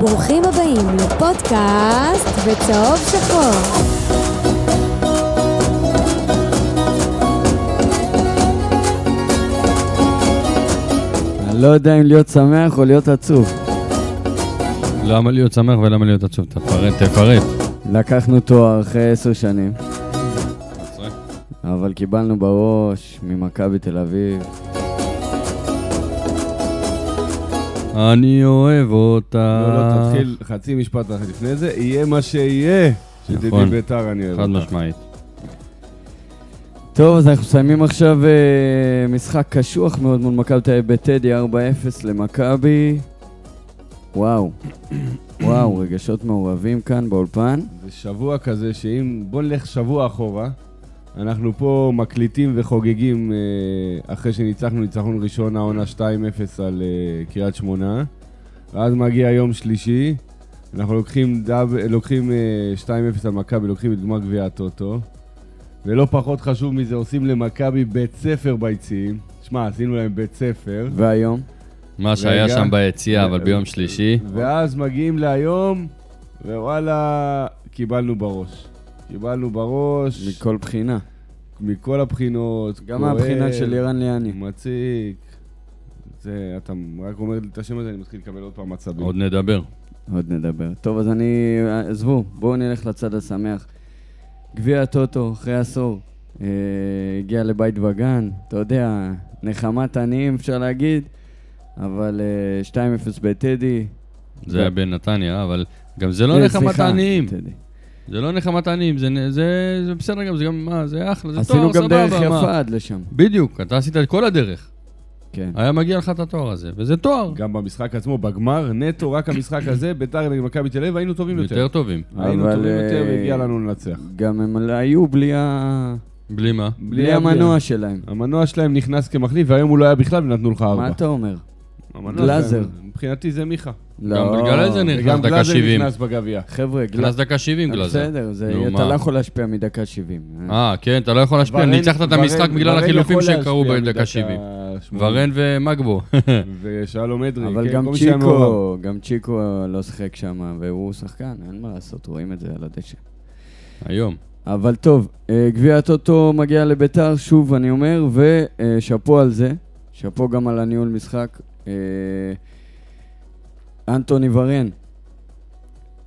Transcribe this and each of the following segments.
ברוכים הבאים לפודקאסט בצהוב שחור. אני לא יודע אם להיות שמח או להיות עצוב. למה להיות שמח ולמה להיות עצוב? תפרט, תפרט. לקחנו תואר אחרי עשר שנים, אבל קיבלנו בראש ממכבי תל אביב. אני אוהב אותה. לא, לא, תתחיל חצי משפט אחד לפני זה, יהיה מה שיהיה. שתדעי נכון. ביתר אני אוהב חד אותך. משמעית. טוב, אז אנחנו מסיימים עכשיו אה, משחק קשוח מאוד מול מכבי תל אביב בטדי, 4-0 למכבי. וואו, וואו, רגשות מעורבים כאן באולפן. זה שבוע כזה שאם... בוא נלך שבוע אחורה. אנחנו פה מקליטים וחוגגים אה, אחרי שניצחנו ניצחון ראשון העונה 2-0 על אה, קריית שמונה. ואז מגיע יום שלישי, אנחנו לוקחים, דאב, לוקחים אה, 2-0 על מכבי, לוקחים את גמר גביע הטוטו. ולא פחות חשוב מזה, עושים למכבי בית ספר ביציעים. שמע, עשינו להם בית ספר. והיום? מה שהיה רגע. שם ביציע, אבל ביום שלישי. ואז מגיעים להיום, ווואלה, קיבלנו בראש. קיבלנו בראש, מכל בחינה. מכל הבחינות. גם כואב, מהבחינה של לירן ליאני. מציק. זה, אתה רק אומר לי את השם הזה, אני מתחיל לקבל עוד פעם מצבים. עוד נדבר. עוד נדבר. טוב, אז אני... עזבו, בואו נלך לצד השמח. גביע הטוטו, אחרי עשור, אה, הגיע לבית וגן, אתה יודע, נחמת עניים אפשר להגיד, אבל אה, 2-0 בטדי. זה היה בנתניה, אבל גם זה לא אה, נחמת סליחה, עניים. בטדי. זה לא נחמת עניים, זה נ- זה זה בסדר גם, זה גם, מה, זה אחלה, זה תואר, עשינו סבבה. גם דרך מה? יפה עד לשם. בדיוק, אתה עשית את כל הדרך. כן. היה מגיע לך את התואר הזה, וזה תואר. גם במשחק עצמו, בגמר, נטו, רק המשחק הזה, ביתר נגד מכבי תל אביב, היינו טובים יותר. יותר טובים. היינו אבל, טובים יותר, אה, והגיע לנו לנצח. גם הם היו בלי, ה... בלי מה? בלי המנוע שלהם. המנוע שלהם נכנס כמחליף, והיום הוא לא היה בכלל, ונתנו לך ארבע. מה אתה אומר? המנוע גלאזר. שלהם- מבחינתי זה מיכה. גם בגלל זה נכנס וגם דקה גלאזר 70. נכנס בגביע. לא. חבר'ה, גלאזר. נכנס דקה 70 גלאזר. בסדר, זה- נו, אתה מה? לא יכול להשפיע מדקה 70. אה, כן, אתה לא יכול להשפיע. ורן- ניצחת את ורן- המשחק בגלל ורן החילופים יכול שקרו להשפיע בדקה מדקה 70. 80. ורן ומגבו. ושלום אדרי, אבל כן, גם כל מי שהיה מעורב. צ'יקו, גם צ'יקו לא שיחק שם, והוא שחקן, אין מה לעשות, רואים את זה על הדשא. היום. אבל טוב, אה, גביע הטוטו מגיע לביתר, שוב אני אומר, ושאפו על זה, שאפו גם על הניהול משחק. אה, אנטוני ורן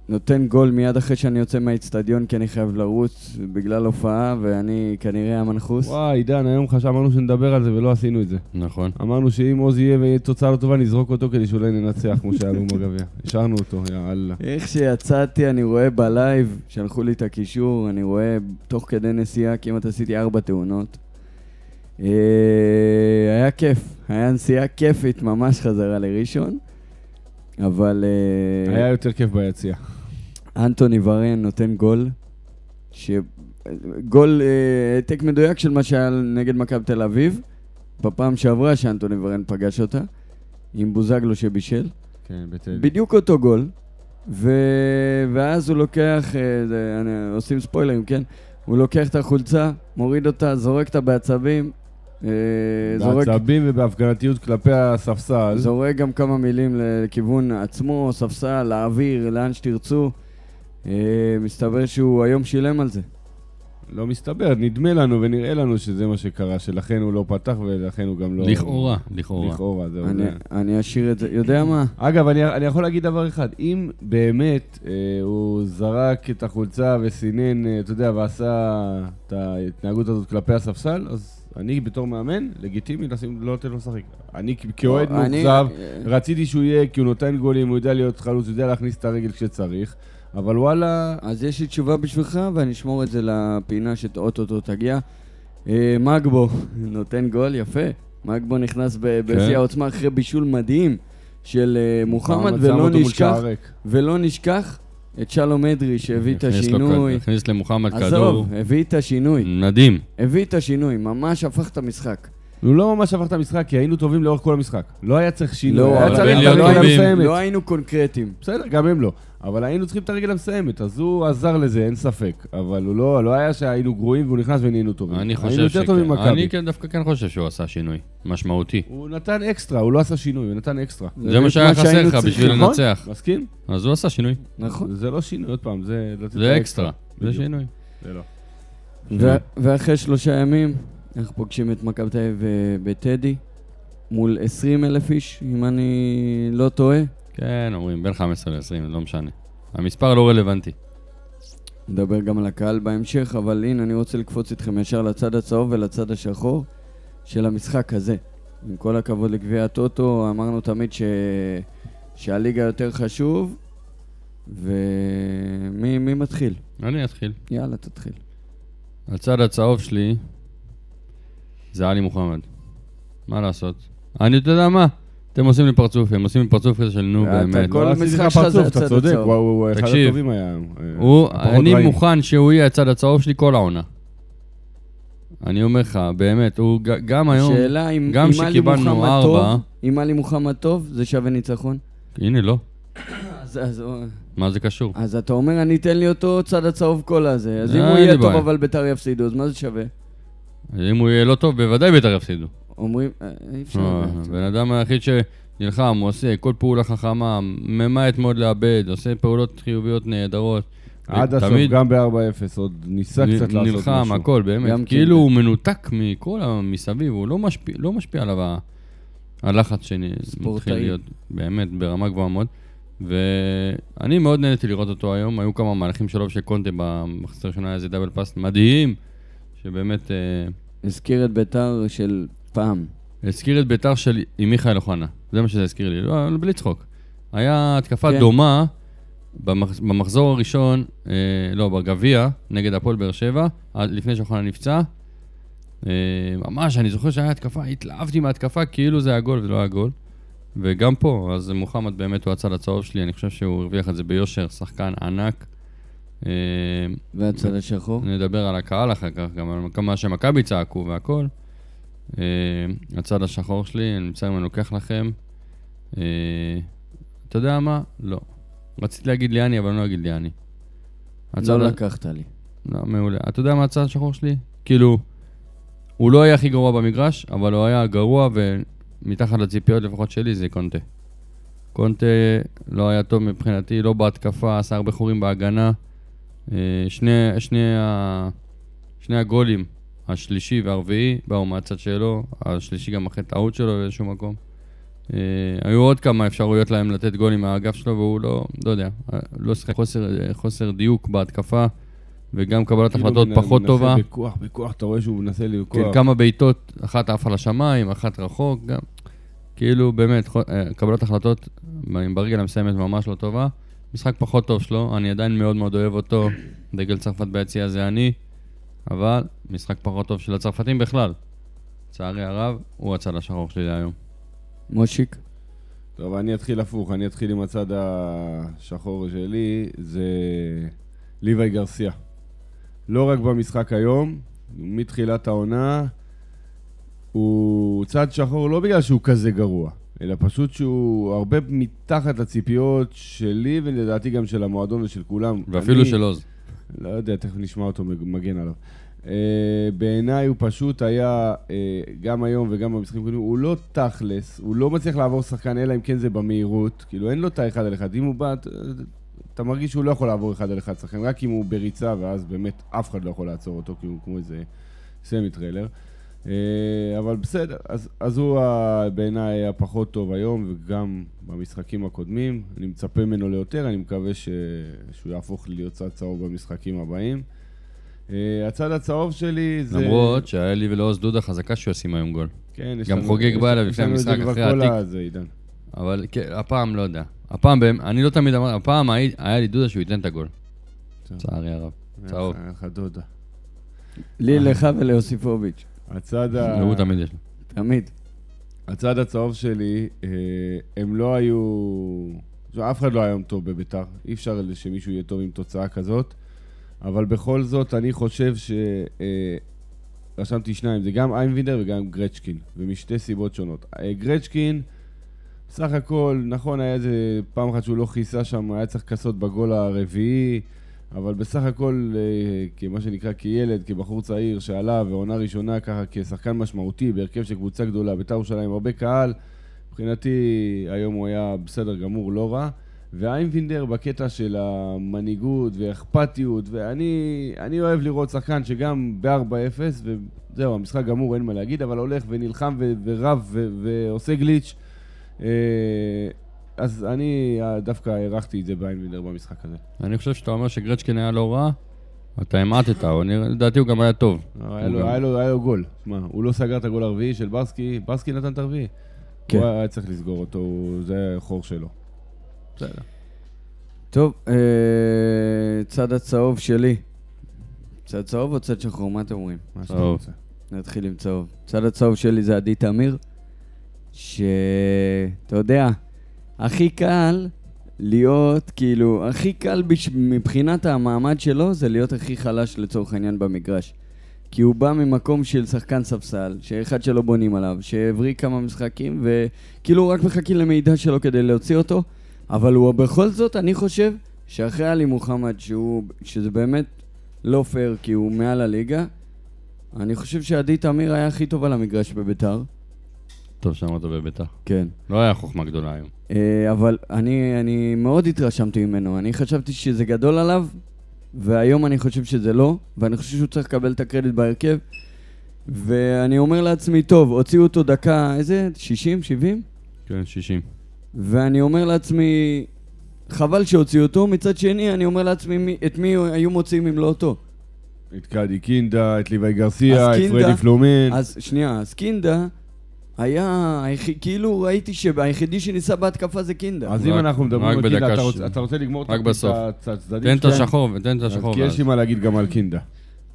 נותן גול מיד אחרי שאני יוצא מהאיצטדיון, כי אני חייב לרוץ בגלל הופעה, ואני כנראה המנחוס. וואי, עידן, היום חשב, אמרנו שנדבר על זה ולא עשינו את זה. נכון. אמרנו שאם עוז יהיה ויהיה תוצאה לא טובה, נזרוק אותו כדי שאולי ננצח, כמו שהיה לנו בגביע. השארנו אותו, יא אללה. איך שיצאתי, אני רואה בלייב, שלחו לי את הקישור, אני רואה תוך כדי נסיעה, כמעט עשיתי ארבע תאונות. אה, היה כיף, היה נסיעה כיפית ממש חזרה לראשון, אבל אה, היה יותר כיף ביציע. אנטוני ורן נותן גול, ש... גול, אה, העתק מדויק של מה שהיה נגד מכבי תל אביב, בפעם שעברה שאנטוני ורן פגש אותה, עם בוזגלו שבישל. כן, בטדי. בדיוק אותו גול, ו... ואז הוא לוקח, אה, זה- אני- עושים ספוילרים, כן? הוא לוקח את החולצה, מוריד אותה, זורק אותה בעצבים, אה, זורק, בעצבים ובהפגנתיות כלפי הספסל. זורק גם כמה מילים לכיוון עצמו, ספסל, לאוויר, לאן שתרצו. אה, מסתבר שהוא היום שילם על זה. לא מסתבר, נדמה לנו ונראה לנו שזה מה שקרה, שלכן הוא לא פתח ולכן הוא גם לא... לכאורה, לכאורה. לכאורה, זהו. אני, זה- אני אשאיר את זה, יודע מה? אגב, אני, אני יכול להגיד דבר אחד, אם באמת אה, הוא זרק את החולצה וסינן, אה, אתה יודע, ועשה את ההתנהגות הזאת כלפי הספסל, אז אני בתור מאמן, לגיטימי לשים, לא לתת לו לשחק. אני כ- כאוהד אני- מאוכזב, אה, רציתי שהוא יהיה, כי הוא נותן גולים, הוא יודע להיות חלוץ, הוא יודע להכניס את הרגל כשצריך, אבל וואלה, אז יש לי תשובה בשבילך, ואני אשמור את זה לפינה שאו-טו-טו תגיע. אה, מגבו נותן גול יפה. מגבו נכנס ב- בשיא העוצמה אחרי בישול מדהים של אה, מוחמד, שם ולא אותו מול נשכח, שער ריק. ולו נשכח את שלום אדרי שהביא את הכניס לו כד- השינוי. הכניס למוחמד כדור. עזוב, הביא את השינוי. מדהים. הביא את השינוי, ממש הפך את המשחק. הוא לא ממש הפך את המשחק, כי היינו טובים לאורך כל המשחק. לא היה צריך שינוי, לא, היה אבל צריך בין את להיות הרגל טובים. המסיימת. לא היינו קונקרטיים. בסדר, גם הם לא. אבל היינו צריכים את הרגל המסיימת, אז הוא עזר לזה, אין ספק. אבל הוא לא, לא היה שהיינו גרועים והוא נכנס ונהיינו טובים. אני היינו חושב יותר טובים שכן. אני ממכבי. כן דווקא כן חושב שהוא עשה שינוי משמעותי. הוא נתן אקסטרה, הוא לא עשה שינוי, הוא נתן אקסטרה. זה מה שהיה חסר שהיינו לך צריכים, בשביל נכון? לנצח. מסכים? אז הוא עשה שינוי. נכון. זה לא שינוי, עוד פעם, זה... לתת זה אקסטרה. זה בדיוק. שינוי. זה לא. כן. ו- ואחרי שלושה ימים, אנחנו פוגשים את מכבי תל אביב אה, בטדי, מול 20 אלף איש, אם אני לא טועה. כן, אומרים, בין 15 ל-20, לא משנה. המספר לא רלוונטי. נדבר גם על הקהל בהמשך, אבל הנה, אני רוצה לקפוץ איתכם ישר לצד הצהוב ולצד השחור של המשחק הזה. עם כל הכבוד לגביע הטוטו, אמרנו תמיד ש... שהליגה יותר חשוב, ומי מי מתחיל? אני אתחיל. יאללה, תתחיל. הצד הצהוב שלי זה עלי מוחמד. מה לעשות? אני, אתה יודע מה? אתם עושים לי פרצוף, הם עושים לי פרצוף כזה של נו באמת. כל לא עשיתי משחק לך שלך זה פרצוף, הצד אתה צודק, הצהוב. וואו, הוא אחד תקשיב. הטובים היה. אה, הוא, הפחות אני רעים. מוכן שהוא יהיה הצד הצהוב שלי כל העונה. אני אומר לך, באמת, הוא ג- גם היום... השאלה אם גם אם עלי שקיבלנו מוחמד ארבע- טוב, אם עלי מוחמד טוב, זה שווה ניצחון? הנה, לא. אז, אז, מה זה קשור? אז אתה אומר, אני אתן לי אותו צד הצהוב כל הזה. אז אם אה, הוא אין יהיה לי טוב בעיה. אבל ביתר יפסידו, אז מה זה שווה? אם הוא יהיה לא טוב, בוודאי בית"ר יפסידו. אומרים, אה, אי אפשר אה, לדעת. הבן אדם היחיד שנלחם, הוא עושה כל פעולה חכמה, ממעט מאוד לאבד, עושה פעולות חיוביות נהדרות. עד הסוף, תמיד גם ב-4-0, עוד ניסה נ- קצת לעשות משהו. נלחם, הכל, באמת. גם כאילו כן. הוא מנותק מכל המסביב, הוא לא משפיע- לא משפיע עליו ה- הלחץ שמתחיל ספורטאי. להיות, באמת, ברמה גבוהה מאוד. ואני מאוד נהניתי לראות אותו היום, היו כמה מהלכים שלו של קונטה במחצית הראשונה, היה איזה דאבל פאס מדהים, שבאמת אה, הזכיר את ביתר של פעם. הזכיר את ביתר של עם מיכאל אוחנה, זה מה שזה הזכיר לי, לא, אבל בלי צחוק. היה התקפה כן. דומה במח, במחזור הראשון, אה, לא, בגביע, נגד הפועל באר שבע, עד לפני שאוחנה נפצע. אה, ממש, אני זוכר שהיה התקפה, התלהבתי מההתקפה, כאילו זה היה גול וזה לא היה גול. וגם פה, אז מוחמד באמת הוא הצד הצהוב שלי, אני חושב שהוא הרוויח את זה ביושר, שחקן ענק. אה, והצד השחור? נדבר על הקהל אחר כך, גם על כמה שמכבי צעקו והכל. אה, הצד השחור שלי, אני מצטער אם אני לוקח לכם. אה, אתה יודע מה? לא. רציתי להגיד ליאני, אבל אני לא אגיד ליאני. הצד לא ה- לקחת לי. לא, מעולה. אתה יודע מה הצד השחור שלי? כאילו, הוא לא היה הכי גרוע במגרש, אבל הוא היה גרוע, ומתחת לציפיות לפחות שלי זה קונטה. קונטה לא היה טוב מבחינתי, לא בהתקפה, עשה הרבה חורים בהגנה. אה, שני, שני, ה, שני הגולים, השלישי והרביעי, באו מהצד שלו, השלישי גם אחרי טעות שלו באיזשהו מקום. אה, היו עוד כמה אפשרויות להם לתת גולים מהאגף שלו, והוא לא, לא יודע, אה, לא שיחק חוסר, חוסר דיוק בהתקפה, וגם קבלת כאילו החלטות מנ- פחות טובה. מנסה בכוח, בכוח, אתה רואה שהוא מנסה כן, בכוח. כמה בעיטות, אחת עפה לשמיים, אחת רחוק, גם. כאילו, באמת, חו- אה, קבלת החלטות עם ברגל המסיימת ממש לא טובה. משחק פחות טוב שלו, אני עדיין מאוד מאוד אוהב אותו, דגל צרפת ביציע זה אני, אבל משחק פחות טוב של הצרפתים בכלל. לצערי הרב, הוא הצד השחור שלי להיום. מושיק? טוב, אני אתחיל הפוך, אני אתחיל עם הצד השחור שלי, זה ליוואי גרסיה. לא רק במשחק היום, מתחילת העונה, הוא צד שחור לא בגלל שהוא כזה גרוע, אלא פשוט שהוא הרבה מתחת לציפיות שלי ולדעתי גם של המועדון ושל כולם. ואפילו אני- של עוז. לא יודע, תכף נשמע אותו מג- מגן עליו. Uh, בעיניי הוא פשוט היה, uh, גם היום וגם במשחקים הקודמים, הוא לא תכלס, הוא לא מצליח לעבור שחקן, אלא אם כן זה במהירות. כאילו, אין לו את האחד על אחד. אם הוא בא, אתה- אתה מרגיש שהוא לא יכול לעבור אחד על אחד שחקן, רק אם הוא בריצה, ואז באמת אף אחד לא יכול לעצור אותו, כי הוא כמו איזה סמי טריילר. אה, אבל בסדר, אז, אז הוא ה- בעיניי הפחות טוב היום, וגם במשחקים הקודמים. אני מצפה ממנו ליותר, אני מקווה ש... שהוא יהפוך להיות צד צהוב במשחקים הבאים. אה, הצד הצהוב שלי זה... למרות שהיה לי ולעוז דודה חזקה שהוא ישים היום גול. כן, יש גם לנו- חוגג יש- בא אליו יש לפני לנו את זה המשחק, כבר אחרי כל התיק. הזה, עידן. אבל כן, הפעם לא יודע. הפעם, באמת- אני לא תמיד אמרתי, הפעם הי- היה לי דודה שהוא ייתן את הגול. טוב. לצערי הרב. צהוב. היה לך דודה. לי, אה. לך וליוסיפוביץ'. הצד, ה... הוא תמיד יש לו. תמיד. הצד הצהוב שלי, אה, הם לא היו... תשמע, אף אחד לא היה יום טוב בביתר. אי אפשר שמישהו יהיה טוב עם תוצאה כזאת. אבל בכל זאת, אני חושב ש... אה, רשמתי שניים, זה גם איינבינדר וגם גרצ'קין, ומשתי סיבות שונות. אה, גרצ'קין, סך הכל, נכון, היה איזה פעם אחת שהוא לא כיסה שם, היה צריך לכסות בגול הרביעי, אבל בסך הכל, אה, כמה שנקרא, כילד, כבחור צעיר שעלה, ועונה ראשונה ככה, כשחקן משמעותי, בהרכב של קבוצה גדולה, בית"ר ירושלים, הרבה קהל, מבחינתי היום הוא היה בסדר גמור, לא רע. ואיינבינדר בקטע של המנהיגות והאכפתיות, ואני אני אוהב לראות שחקן שגם ב-4-0, וזהו, המשחק גמור, אין מה להגיד, אבל הולך ונלחם ו- ורב ו- ועושה גליץ'. אה, אז אני אה, דווקא הערכתי את זה באיינבינדר במשחק הזה. אני חושב שאתה אומר שגרצ'קין היה לא רע, אתה המעטת, הוא נראה- לדעתי הוא גם היה טוב. לא, היה לו, היה, לו, היה לו גול. שמע, הוא לא סגר את הגול הרביעי של ברסקי, ברסקי נתן את הרביעי. כן. כן. הוא היה צריך לסגור אותו, הוא- זה החור שלו. בסדר. טוב, אה, צד הצהוב שלי. צד צהוב או צד שחור? מה אתם אומרים? מה שאתה טוב. רוצה. נתחיל עם צהוב. הצד הצהוב שלי זה עדי תמיר, שאתה יודע, הכי קל להיות, כאילו, הכי קל בש... מבחינת המעמד שלו זה להיות הכי חלש לצורך העניין במגרש. כי הוא בא ממקום של שחקן ספסל, שאחד שלא בונים עליו, שהבריא כמה משחקים, וכאילו רק מחכים למידע שלו כדי להוציא אותו, אבל הוא בכל זאת, אני חושב, שאחרי עלי מוחמד, שהוא, שזה באמת לא פייר כי הוא מעל הליגה, אני חושב שעדי תמיר היה הכי טוב על המגרש בביתר. טוב שאמרת בביתר. כן. לא היה חוכמה גדולה היום. אה, אבל אני, אני מאוד התרשמתי ממנו. אני חשבתי שזה גדול עליו, והיום אני חושב שזה לא, ואני חושב שהוא צריך לקבל את הקרדיט בהרכב. ואני אומר לעצמי, טוב, הוציאו אותו דקה, איזה? 60? 70? כן, 60. ואני אומר לעצמי, חבל שהוציאו אותו. מצד שני, אני אומר לעצמי, מי- את מי היו מוציאים אם לא אותו? את קאדי קינדה, את ליוואי גרסיה, אז את קינדה- פרדי פלומן. אז שנייה, אז קינדה היה, היחי- כאילו ראיתי שהיחידי שניסה בהתקפה זה קינדה. אז אם רק- אנחנו רק מדברים על בדקה קינדה, אתה ש- רוצה- אתה רוצה לגמור את רק את בסוף. את הצדדים תן את שלהם? השחור, תן את כן. אז השחור. כי יש לי מה להגיד גם על קינדה.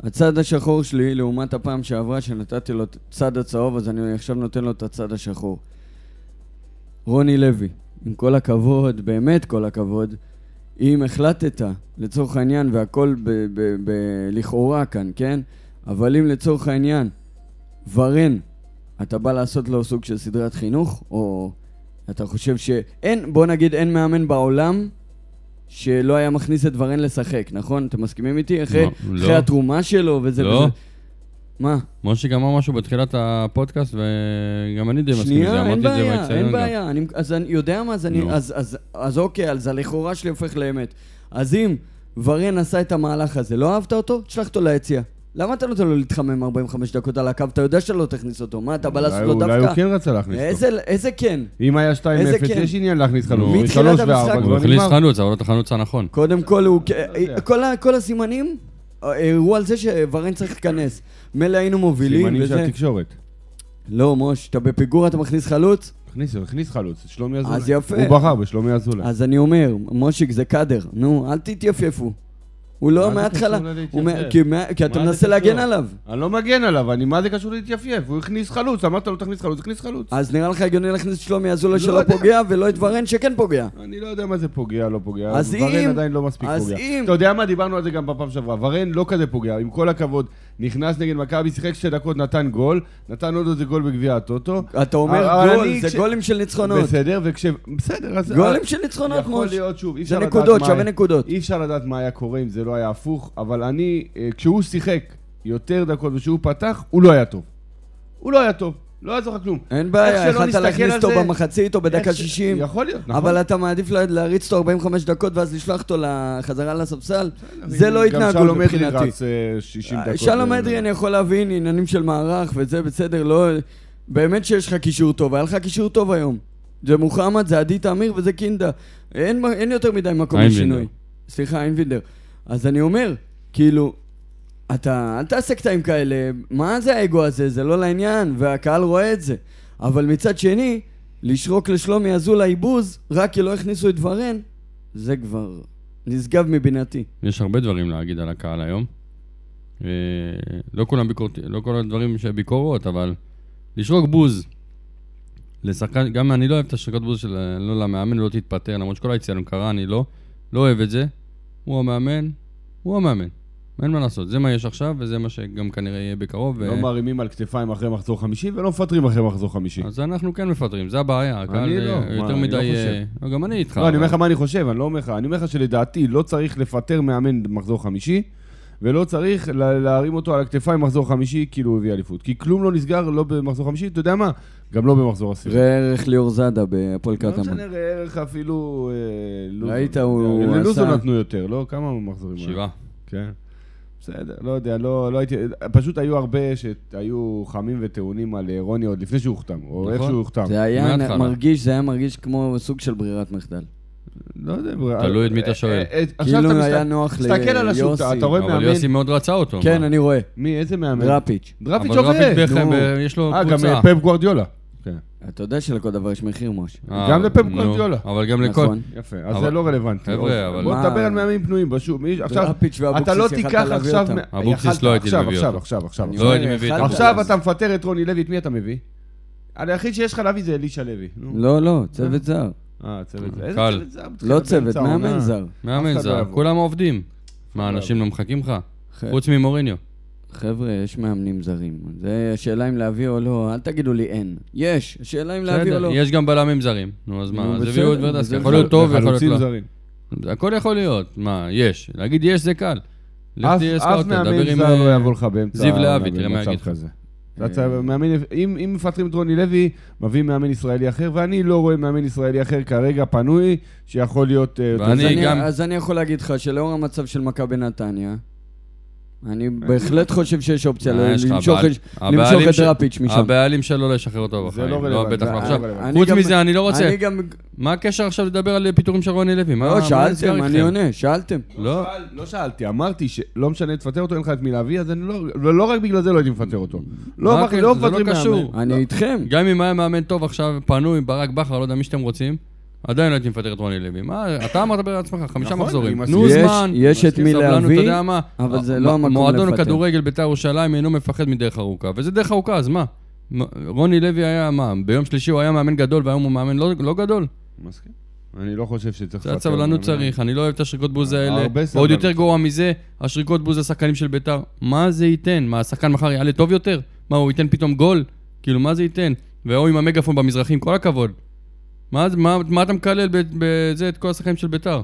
הצד השחור שלי, לעומת הפעם שעברה שנתתי לו את הצד הצהוב, אז אני עכשיו נותן לו את הצד השחור. רוני לוי, עם כל הכבוד, באמת כל הכבוד, אם החלטת, לצורך העניין, והכל ב- ב- ב- לכאורה כאן, כן? אבל אם לצורך העניין, ורן, אתה בא לעשות לו סוג של סדרת חינוך, או אתה חושב שאין, בוא נגיד אין מאמן בעולם שלא היה מכניס את ורן לשחק, נכון? אתם מסכימים איתי? אחרי, לא, אחרי לא. התרומה שלו וזה לא. וזה. מה? משה גם אמר משהו בתחילת הפודקאסט, וגם אני די מסכים לזה, שנייה, אין אמרתי את זה בעיה, באצטדיון אין גם. בעיה. אני, אז אני יודע מה, אז, אני, נו. אז, אז, אז אוקיי, אז הלכאורה שלי הופך לאמת. אז אם ורן עשה את המהלך הזה, לא אהבת אותו? תשלח אותו ליציע. למה אתה נותן לו להתחמם 45 דקות על הקו? אתה יודע שלא תכניס אותו. מה, אתה בא לעשות אולי לו הוא- אולי הוא דווקא? כן רצה להכניס אותו. איזה- איזה כן? אם היה 2-0, איזה כן. יש עניין להכניס חלוץ. מתחילת שלוש המשחק. וארבע, הוא כבר הכניס נגמר. חלוץ, אבל לא את החלוץ הנכון. קודם כל, הוא... לא יודע. כל, ה, כל הסימנים הראו על זה שוורן צריך להיכנס. מילא היינו מובילים סימנים של וזה... התקשורת. לא, מוש, אתה בפיגור, אתה מכניס חלוץ? הכניס, הכניס חלוץ, שלומי אזולאי. אז יפה. הוא בחר בשלומי אזולאי. אז אני אומר, מושיק זה קאדר, נו, אל תתייפייפו. הוא מה לא זה מההתחלה, קשור ללהתייפייף? הוא מה- כי מה- כי אתה מה זה מנסה קשור? להגן עליו. אני לא מגן עליו, אני מה זה קשור להתייפייף? הוא הכניס חלוץ, אמרת לו תכניס חלוץ, הכניס חלוץ. אז נראה לך הגיוני להכניס את שלומי אזולאי לא שלא יודע. פוגע, ולא את ורן שכן פוגע. אני לא יודע מה זה פוגע, לא פוגע. אז אם- ורן עדיין לא מספיק אז פוגע. אם- אתה יודע מה? דיברנו על זה גם בפעם שעברה. ורן לא כזה פוגע, עם כל הכבוד. נכנס נגד מכבי, שיחק שתי דקות, נתן גול. נתן עוד איזה גול בגביע הטוטו. אתה אומר אבל גול, אה, אני זה כש- גולים של ניצחונות. בסדר, וכש... בסדר, אז... אה- גולים של ניצחונות, יכול מוש. להיות, שוב, אי זה אפשר לדעת נקודות, מה שווה היה- נקודות. אי אפשר לדעת מה היה קורה אם זה לא היה הפוך, אבל אני, אה, כשהוא שיחק יותר דקות ושהוא פתח, הוא לא היה טוב. הוא לא היה טוב, לא יעזור לך כלום. אין איך בעיה, שלא יכלת נסתכל להכניס על אותו זה, במחצית או בדקה איך ש- 60, יכול להיות, נכון. אבל אתה מעדיף לה- להריץ אותו 45 דקות ואז לשלוח אותו חזרה לספסל? זה לא גם התנהגות שלום אדרי מבחינתי. רץ אה, 60 דקות. שלום אה, אדרי, אני יכול להבין עניינים של מערך וזה בסדר, לא... באמת שיש לך קישור טוב, היה לך קישור טוב היום. זה מוחמד, זה עדי תמיר וזה קינדה. אין, מה- אין יותר מדי מקום איינבינדר. לשינוי. סליחה, איינבינדר. אז אני אומר, כאילו, אתה, אל תעשה קטעים כאלה, מה זה האגו הזה? זה לא לעניין, והקהל רואה את זה. אבל מצד שני, לשרוק לשלומי אזולאי בוז, רק כי לא הכניסו את ורן, זה כבר נשגב מבינתי. יש הרבה דברים להגיד על הקהל היום. אה, לא כולם ביקורתי, לא כל הדברים שביקורות, אבל לשרוק בוז. לשחקן, גם אני לא אוהב את השריקות בוז של אה, לא למאמן, לא תתפטר, למרות שכל היציאה קרה, אני לא. לא אוהב את זה. הוא המאמן, הוא המאמן. אין מה לעשות, זה מה יש עכשיו, וזה מה שגם כנראה יהיה בקרוב. אה. לא מרימים על כתפיים אחרי מחזור חמישי ולא מפטרים אחרי מחזור חמישי. אז אנחנו כן מפטרים, זה הבעיה. הקהל לא, אה, מה, יותר אני מדי... לא חושב. אה, לא, גם אני איתך. לא, אני אומר לך אבל- מה אני חושב, אני לא אומר לך. אני אומר לך שלדעתי לא צריך לפטר מאמן במחזור חמישי, ולא צריך לה- להרים אותו על הכתפיים במחזור חמישי, כאילו הוא הביא אליפות. כי כלום לא נסגר, לא במחזור חמישי, אתה יודע מה? גם לא במחזור עשירי. ראה ערך ליאור זאדה בהפועל לא קטמון. משנה ראה ערך אפילו... אה, לוזון. ראית, הוא אה, ללוזון עשה- נתנו יותר, לא? כמה מחזורים? היה? שבעה. כן. בסדר, לא יודע, לא, לא הייתי... פשוט היו הרבה שהיו חמים וטעונים על אה, רוני עוד לפני שהוא הוחתם, או נכון. איך שהוא הוחתם. זה היה מההתחלה. מרגיש, זה היה מרגיש כמו סוג של ברירת מחדל. לא יודע, תלוי את מי אתה שואל. אה, אה, עכשיו כאילו אתה היה מסת- נוח ליוסי. תסתכל על השוט, אתה רואה מאמן... אבל יוסי מאוד רצה אותו. כן, מה? אני רואה. מי, איזה מאמן? דראפיץ'. דראפיץ' אבל עובד. דראפיץ' נו. בכם, אה, יש לו אה, גם קבוצה. אה, פפ גוורדיולה. כן. אתה יודע שלכל דבר יש מחיר, משה. אה, גם לפפ נו, גוורדיולה. אבל גם לכל... נכון. יפה, אז אבל- זה לא רלוונטי. חבר'ה, אוקיי. אבל- בוא מה- נדבר על מאמנים פנויים בשוק. מי- עכשיו, דראפיץ' ואבוקסיס אתה לא יכלת תיקח להביא עכשיו... אותם. מ- אה, אבוקסיס יכלת, לא הייתי עכשיו, מביא עכשיו, אותו. עכשיו, עכשיו, אני עכשיו. לא אומר, הייתי מביא את יכלת עכשיו לעשות. אתה מפטר את רוני לוי, את מי אתה מביא? על היחיד שיש לך להביא זה אלישע לוי. נו. לא, לא, צוות זר. אה, צוות זר. איזה קל. צוות זר? בתחילת לא צוות, באמצע מאמן העונה. זר. אף מאמן אחד לא זר, יבוא. כולם עובדים. מה, לא אנשים לא מחכים לך? ח- חוץ ממוריניו. חבר'ה, יש מאמנים זרים. זה השאלה אם להביא או לא, אל תגידו לי אין. יש, השאלה אם להביא או בסדר, לא. יש גם בלמים זרים. נו, אז נו, מה, אז בסדר, הביאו את ורדסקי. זה יכול להיות טוב ויכול להיות חלוצים לא. זרים. הכל יכול להיות. מה, יש. להגיד יש זה קל. לך אף- תהיה אף סקאוטר, דבר מאמן עם... זר אה, לא יבוא לך באמצע... זיו להבי, העונה תראה מה במצב יגיד לך. אה. כזה. אתה צריך- מאמן- אם אם מפטרים את רוני לוי, מביאים מאמן ישראלי אחר, ואני לא רואה מאמן ישראלי אחר כרגע פנוי, שיכול להיות... אה, יותר ואני לא אז זר. אני- גם- אז אני יכול להגיד לך שלאור המצב של מכבי נתניה, אני בהחלט חושב שיש אופציה אה, יש לך למשוך בעל- את- הבעלים למשוך את של- דראפיץ' משם. הבעלים שלו לא ישחרר אותו זה בחיים. לא רלוונטי. בטח לא זה לא עכשיו. רלוונטי. אני חוץ גם- מזה, אני לא רוצה. אני גם... מה הקשר עכשיו לדבר על פיטורים של רוני לוי? מה- לא, מה שאלתם, נסגר אני איתכם? עונה, שאלתם. לא. שאל- לא שאלתי, אמרתי שלא משנה, תפטר אותו, אין לך את מי להביא, אז אני לא... ולא רק בגלל זה לא הייתי מפטר אותו. לא מה מפטרים הקשר? לא זה לא מפטרים קשור. מאמן. אני איתכם. גם אם היה מאמן טוב עכשיו, פנוי, ברק בכר, לא יודע, מי שאתם רוצים, עדיין לא הייתי מפטר את רוני לוי. מה, אתה אמרת בעצמך, חמישה נכון, מחזורים. אני תנו מסכים. זמן, יש- יש את מי סבלנות, להביא, אתה יודע מה, אבל זה מ- לא המקום מועדון לפטר. הכדורגל בית"ר ירושלים אינו מפחד מדרך ארוכה, וזה דרך ארוכה, אז מה? מ- רוני לוי היה, מה, ביום שלישי הוא היה מאמן גדול והיום הוא מאמן לא לא גדול? מסכים. אני לא חושב שצריך קצת סבלנות מאמן. צריך, אני לא אוהב את השריקות בוז האלה. הרבה ועוד סבלנות. יותר גרוע מזה, השריקות בוז לשחקנים של ביתר. מה זה ייתן? מה, השחקן מחר יעלה טוב יותר? מה, הוא ייתן פתאום גול? כאילו, מה זה ייתן? והוא עם המגאפון במזרחים, כל הכבוד. מה, זה- מה, מה אתה מקלל ב- בזה את כל השחקנים של ביתר?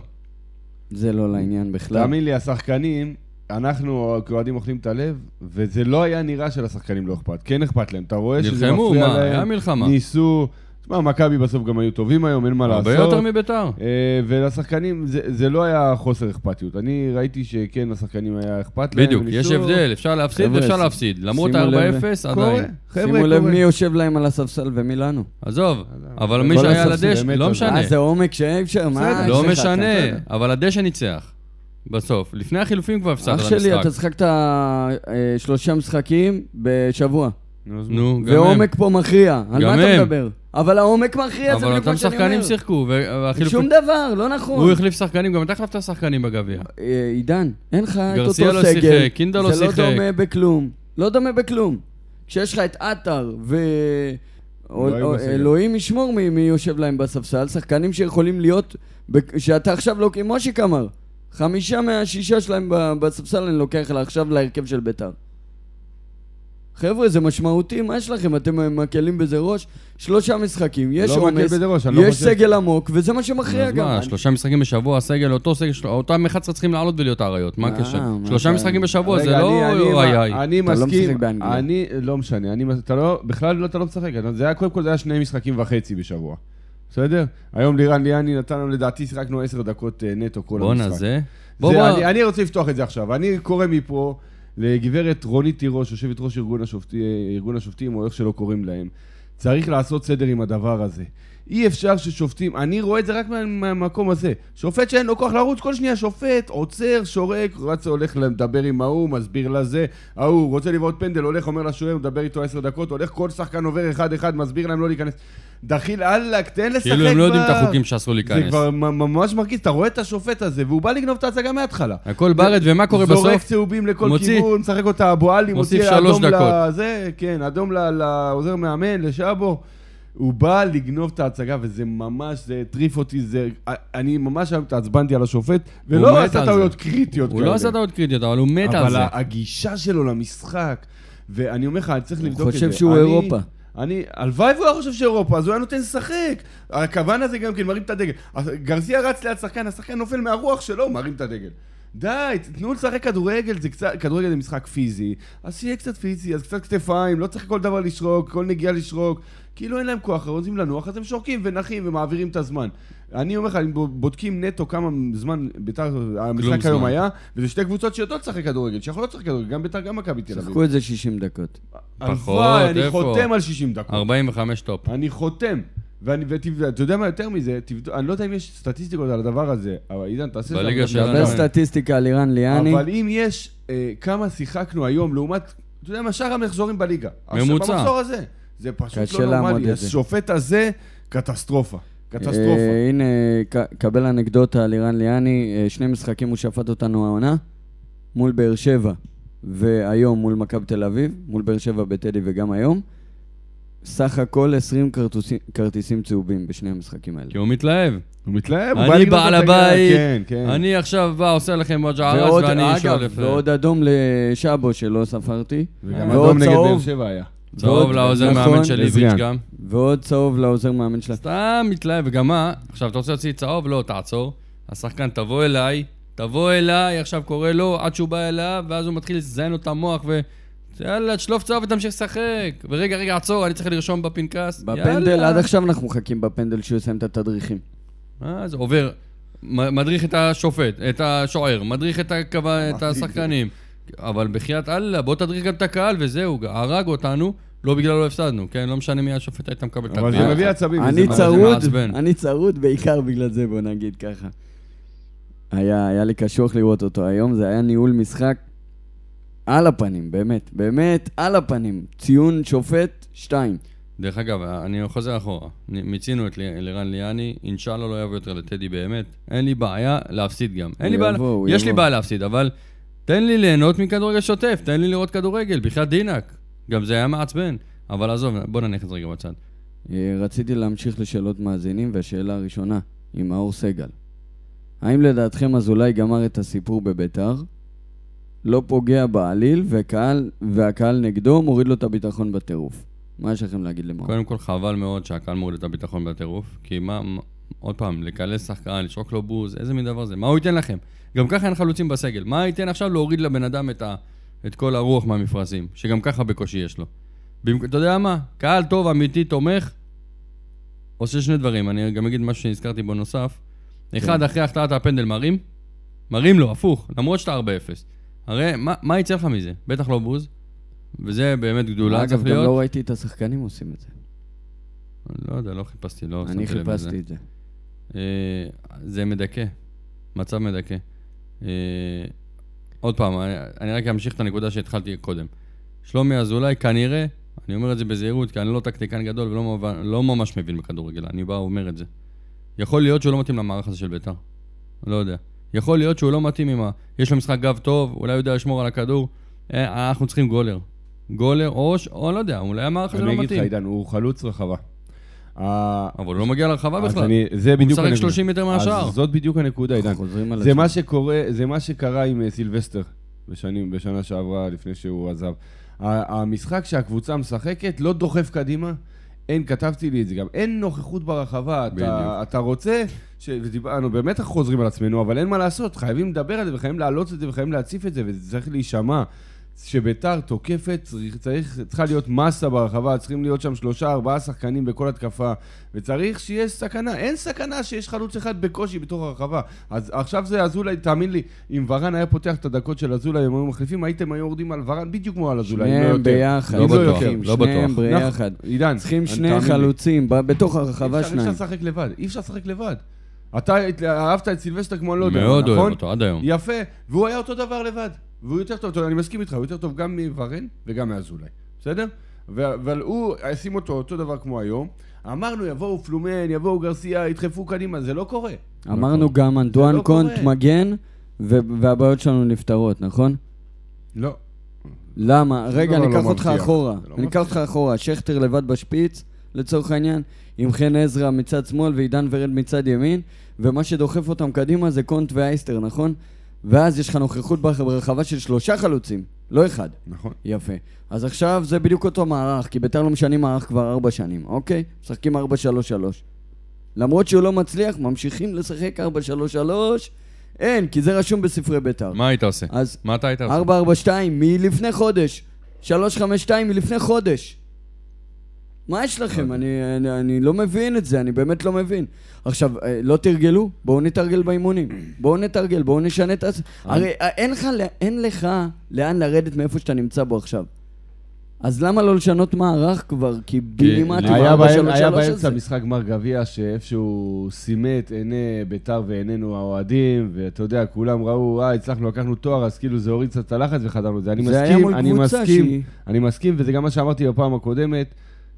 זה לא לעניין בכלל. תאמין לי, השחקנים, אנחנו כאוהדים אוכלים את הלב, וזה לא היה נראה שלשחקנים לא אכפת. כן אכפת להם, אתה רואה שזה נלחמו, מפריע מה, להם. היה מלחמה. ניסו. תשמע, מכבי בסוף גם היו טובים היום, אין מה לעשות. הרבה יותר מביתר. אה, ולשחקנים, זה, זה לא היה חוסר אכפתיות. אני ראיתי שכן, לשחקנים היה אכפת להם. בדיוק, וניסו. יש הבדל, אפשר להפסיד חבר'ה, ואפשר ש- להפסיד. למרות שימו לב, ה-4-0, קורה, עדיין. חבר'ה, שימו לב קורה. מי יושב להם על הספסל ומי לנו. עזוב, אבל כל מי שהיה על הספסל, הדשא, באמת, לא אז- משנה. אה, זה עומק שאי אפשר, מה? בסדר, לא יש לך, אתה- משנה, אבל הדשא ניצח. בסוף. לפני החילופים כבר הפסדת אח את המשחק. שלי, אתה שחקת אה, שלושה משחקים בשבוע. נו, אז מה? נו, גם הם. ועומק פה מכריע. על גם מה אתה הם. מדבר? אבל העומק מכריע, זה אבל בדיוק אותם מה שאני אומר. שחקנים שיחקו, והחילופים... שום דבר, לא הוא נכון. החליף שחקנים, גם אתה החלפת שחקנים בגביע. אה, עידן, אין לך את אותו סגל. גרסיה לא שיחק, קינדה לא שיחק. זה לא דומה בכלום. לא דומה בכלום. כשיש לך את עטר ו... או- לא היו או- בסגל. אלוהים ישמור מי מי יושב להם בספסל, שחקנים שיכולים להיות, ב- שאתה עכשיו לא, כמו מושיק אמר, חמישה מהשישה שלהם ב- בספסל אני לוקח לה עכשיו להרכב של ביתר. חבר'ה, זה משמעותי, מה יש לכם? אתם מקלים בזה ראש? שלושה משחקים, יש לא מקל עומס, בזה ראש, אני לא יש חושב- סגל עמוק, וזה מה שמכריע אז גם. מה, אני- שלושה משחקים בשבוע, הסגל, אותו סגל, של- אותם 11 צריכים לעלות ולהיות אריות, מה אה, הקשר? מה שלושה זה- משחקים בשבוע זה רגע, לא אני- אני- אוי אוי. אני אתה לא מסכים, משחק באנגליה. אני, לא משנה, אני, מס- אתה לא, בכלל לא, אתה לא משחק, אתה- זה היה, קודם כל זה היה שני משחקים וחצי בשבוע, בסדר? היום לירן ליאני נתן לנו, לדעתי שיחקנו עשר דקות אה, נטו כל המשחק. בואנה זה. בוא בוא, בוא. אני, אני רוצה לפתוח את זה עכשיו. אני קורא מפה לגברת רונית תירוש, יושבת ראש ארגון, השופטי, ארגון השופטים, או איך שלא קוראים להם. צריך לעשות סדר עם הדבר הזה. אי אפשר ששופטים, אני רואה את זה רק מה- מהמקום הזה. שופט שאין לו כוח לרוץ, כל שנייה שופט, עוצר, שורק, רץ, הולך לדבר עם ההוא, מסביר לזה, ההוא רוצה לבעוט פנדל, הולך, אומר לשוער, מדבר איתו עשר דקות, הולך, כל שחקן עובר אחד-אחד, מסביר להם לא להיכנס. דחיל, אללה, תן לשחק כבר. כאילו הם לא יודעים את החוקים שאסור זה להיכנס. כבר מ- ממש מרגיז, אתה רואה את השופט הזה, והוא בא לגנוב את ההצגה מההתחלה. הכל ברד, ומה קורה זורק בסוף? צהובים לכל מוציא. כיוון, משחק אותה אבו עלי, מוסיף מוציא שלוש אדום דקות. לזה, כן, אדום ל- לעוזר מאמן, לשאבו. הוא בא לגנוב את ההצגה, וזה ממש, זה הטריף אותי, זה... אני ממש היום התעצבנתי על השופט, הוא מת ולא על עשה זה. טעויות קריטיות הוא לא עשה טעות קריטיות, אבל הוא מת על אבל זה. הגישה שלו למשחק, ואני אומר לך, אני צריך לבדוק את זה. חושב שהוא אני- אירופה. אני, הלוואי והוא היה חושב שאירופה, אז הוא היה נותן לשחק. הכוון הזה גם כן מרים את הדגל. אז גרסיה רץ ליד שחקן, השחקן נופל מהרוח שלו, מרים את הדגל. די, תנו לשחק כדורגל, זה קצת, כדורגל זה משחק פיזי. אז שיהיה קצת פיזי, אז קצת כתפיים, לא צריך כל דבר לשרוק, כל נגיעה לשרוק. כאילו אין להם כוח, הם רוצים לנוח, אז הם שורקים ונחים ומעבירים את הזמן. אני אומר לך, אם בודקים נטו כמה זמן ביתר, המשחק היום זמן. היה, וזה שתי קבוצות שיודעות לשחק כדורגל, שיכולות לשחק כדורגל, גם ביתר, גם מכבי תל אביב. שחקו את זה 60 דקות. פחות, הלוואי, אני איפה? חותם על 60 דקות. 45 טופ. אה. אני חותם. ואני, ואתה יודע מה יותר מזה, תבדוק, אני לא יודע אם יש סטטיסטיקות על הדבר הזה, אבל עידן, תעשה בליגה עבודה. שלנו. דבר אבל- סטטיסטיקה על אירן ליאני. אבל אם יש אה, כמה שיחקנו היום לעומת, אתה יודע מה, שאר המחזורים בליגה. עכשיו, ממוצע. במחזור הזה. זה פשוט קשה לא לעמוד נורמלי. את זה. השופט הזה, קטסטרופה. קטסטרופה. אה, הנה, ק- קבל אנקדוטה על אירן ליאני. אה, שני משחקים הוא שפט אותנו העונה, מול באר שבע, והיום מול מכבי תל אביב, מול באר שבע בטדי וגם היום. סך הכל 20 כרטוסים- כרטיסים צהובים בשני המשחקים האלה. כי הוא מתלהב. כן, הוא מתלהב, הוא בא אני לגנוב בעל את הגנה. הבית, כן, כן. אני עכשיו בא, עושה לכם וג'ערס ועוד, ואני אגב, שולף. אה, ועוד אדום לשאבו שלא ספרתי. וגם ועוד אדום נגד באר צהוב. שבע היה. צהוב ועוד- לעוזר נכון, מאמן של איביץ' עזריאן. גם. ועוד צהוב לעוזר מאמן שלה. סתם מתלהב, וגם מה? עכשיו, אתה רוצה להוציא צהוב? לא, תעצור. השחקן, תבוא אליי, תבוא אליי, עכשיו קורא לו, עד שהוא בא אליו, ואז הוא מתחיל לזיין לו את המוח, ו... יאללה, תשלוף צהוב ותמשיך לשחק. ורגע, רגע, עצור, אני צריך לרשום בפנקס. בפנדל, יאללה. עד עכשיו אנחנו מחכים בפנדל שהוא יסיים את התדריכים. מה זה עובר, מ- מדריך את השופט, את השוער, מדריך את, הכו... את השחקנים. אבל בחייאת אללה, בוא תדריך גם את הקהל וזהו, הרג אותנו, לא בגלל לא הפסדנו, כן? לא משנה מי השופט היית מקבל את אבל זה התביעה. מביא עצבים. אה, אני וזה צרוד, מעצבן. אני צרוד בעיקר בגלל זה, בוא נגיד ככה. היה, היה לי קשוח לראות אותו היום, זה היה ניהול משחק על הפנים, באמת, באמת על הפנים. ציון שופט 2. דרך אגב, אני חוזר אחורה. נ- מיצינו את ל- לירן ליאני, אינשאללה לא יבוא יותר לטדי באמת. אין לי בעיה להפסיד גם. אין לי בעיה, יבוא, הוא יש לי יבוא. בעיה להפסיד, אבל תן לי ליהנות מכדורגל שוטף, תן לי לראות כדורגל, בחייאת דינק. גם זה היה מעצבן. אבל עזוב, בוא נניח את זה רגע בצד. אה, רציתי להמשיך לשאלות מאזינים, והשאלה הראשונה, עם מאור סגל. האם לדעתכם אזולאי גמר את הסיפור בביתר? לא פוגע בעליל, וקהל, והקהל נגדו מוריד לו את הביטחון בטירוף. מה יש לכם להגיד למאור? קודם כל, חבל מאוד שהקהל מוריד את הביטחון בטירוף, כי מה, מה- עוד פעם, לקלס שחקן, לשרוק לו בוז, איזה מין דבר זה? מה הוא ייתן לכם? גם ככה אין חלוצים בסגל. מה ייתן עכשיו להוריד לבן אדם את, ה, את כל הרוח מהמפרשים, שגם ככה בקושי יש לו? במק... אתה יודע מה? קהל טוב, אמיתי, תומך, עושה שני דברים. אני גם אגיד משהו שנזכרתי בו נוסף. כן. אחד, אחרי החטאת הפנדל מרים, מרים לו, הפוך, למרות שאתה 4-0. הרי מה, מה יצא לך מזה? בטח לא בוז, וזה באמת גדולה, אגב, צריך גם להיות. לא ראיתי את השחקנים עושים את זה. לא יודע, לא חיפשתי, לא אני שמתי לב לזה. חיפשתי את זה. אה, זה מדכא, מצב מדכא. אה, עוד פעם, אני, אני רק אמשיך את הנקודה שהתחלתי קודם. שלומי אזולאי כנראה, אני אומר את זה בזהירות, כי אני לא טקטיקן גדול ולא מובן, לא ממש מבין בכדורגל, אני בא ואומר את זה. יכול להיות שהוא לא מתאים למערך הזה של ביתר, לא יודע. יכול להיות שהוא לא מתאים עם ה... יש לו משחק גב טוב, אולי הוא יודע לשמור על הכדור. אה, אנחנו צריכים גולר. גולר או, ש- או לא יודע, אולי המערך הזה לא אני אגיד לך, מתאים. עידן, הוא חלוץ רחבה. ה- אבל הוא לא מגיע לרחבה אז בכלל. אני- זה הוא בדיוק משחק הנקודה. 30 מטר מהשער. אז זאת בדיוק הנקודה, לא, עידן. חוזרים על זה עצמם. מה שקורה, זה מה שקרה עם אה, סילבסטר בשנים, בשנה שעברה, לפני שהוא עזב. ה- המשחק שהקבוצה משחקת לא דוחף קדימה. אין, כתבתי לי את זה גם, אין נוכחות ברחבה, אתה, בדיוק. אתה רוצה, ש... ודיברנו, באמת אנחנו חוזרים על עצמנו, אבל אין מה לעשות, חייבים לדבר על זה וחייבים להעלות את זה וחייבים להציף את זה, וזה צריך להישמע. שביתר תוקפת, צריך, צריך, צריכה להיות מסה ברחבה, צריכים להיות שם שלושה, ארבעה שחקנים בכל התקפה, וצריך שיש סכנה. אין סכנה שיש חלוץ אחד בקושי בתוך הרחבה. אז עכשיו זה אזולאי, תאמין לי, אם ורן היה פותח את הדקות של אזולאי, הם היו מחליפים, הייתם היו יורדים על ורן בדיוק כמו על אזולאי, אם לא שניהם יותר. ביחד. אם לא בטוח, יותר. לא בטוח. שניהם ביחד. אנחנו- עידן, צריכים אני- שני תאמין לי. חלוצים ב- בתוך הרחבה אי אפשר- אי שניים. אפשר לשחק לבד, אי אפשר לשחק לבד. אתה הת- אהבת את סילבסטר כמו אני לא יודע, נכון? מאוד אוהב אותו, עד היום. יפה, והוא היה אותו דבר לבד. והוא יותר טוב, טוב, אני מסכים איתך, הוא יותר טוב גם מוורן וגם מאזולאי, בסדר? ו- אבל הוא, שים אותו אותו דבר כמו היום. אמרנו, יבואו פלומן, יבואו גרסיה, ידחפו קדימה, זה לא קורה. אמרנו גם זה אנטואן לא קונט קורה. מגן, ו- והבעיות שלנו נפתרות, נכון? לא. למה? רגע, דבר אני לא אקח אותך מבטיח. אחורה. זה לא אני אקח מבטיח. אותך אחורה. שכטר לבד בשפיץ, לצורך העניין, עם חן עזרא מצד שמאל ועידן ורד מצד ימין, ומה שדוחף אותם קדימה זה קונט ואייסטר, נכון? ואז יש לך נוכחות ברח- ברחבה של שלושה חלוצים, לא אחד. נכון. יפה. אז עכשיו זה בדיוק אותו מערך, כי ביתר לא משנים מערך כבר ארבע שנים, אוקיי? משחקים 4-3-3. למרות שהוא לא מצליח, ממשיכים לשחק 4-3-3, אין, כי זה רשום בספרי ביתר. מה היית עושה? אז מה אתה היית עושה? 442 מלפני חודש. 352 מלפני חודש. מה יש לכם? אני, אני, אני לא מבין את זה, אני באמת לא מבין. עכשיו, אה, לא תרגלו? בואו נתרגל באימונים. בואו נתרגל, בואו נשנה את ה... הרי אה, אין לך, ל- אין לך לאן לרדת מאיפה שאתה נמצא בו עכשיו. אז למה לא לשנות מערך כבר? כי בילימט עם כן, היה בהם- היה 433 הזה. באמצע משחק גמר גביע שאיפשהו סימט עיני ביתר ועינינו האוהדים, ואתה יודע, כולם ראו, אה, הצלחנו, לקחנו תואר, אז כאילו זה הוריד קצת את הלחץ וחזרנו לזה. אני זה היה מסכים, מול אני קבוצה מסכים, שהיא- אני מסכים, וזה גם מה שאמרתי בפעם הקודמת,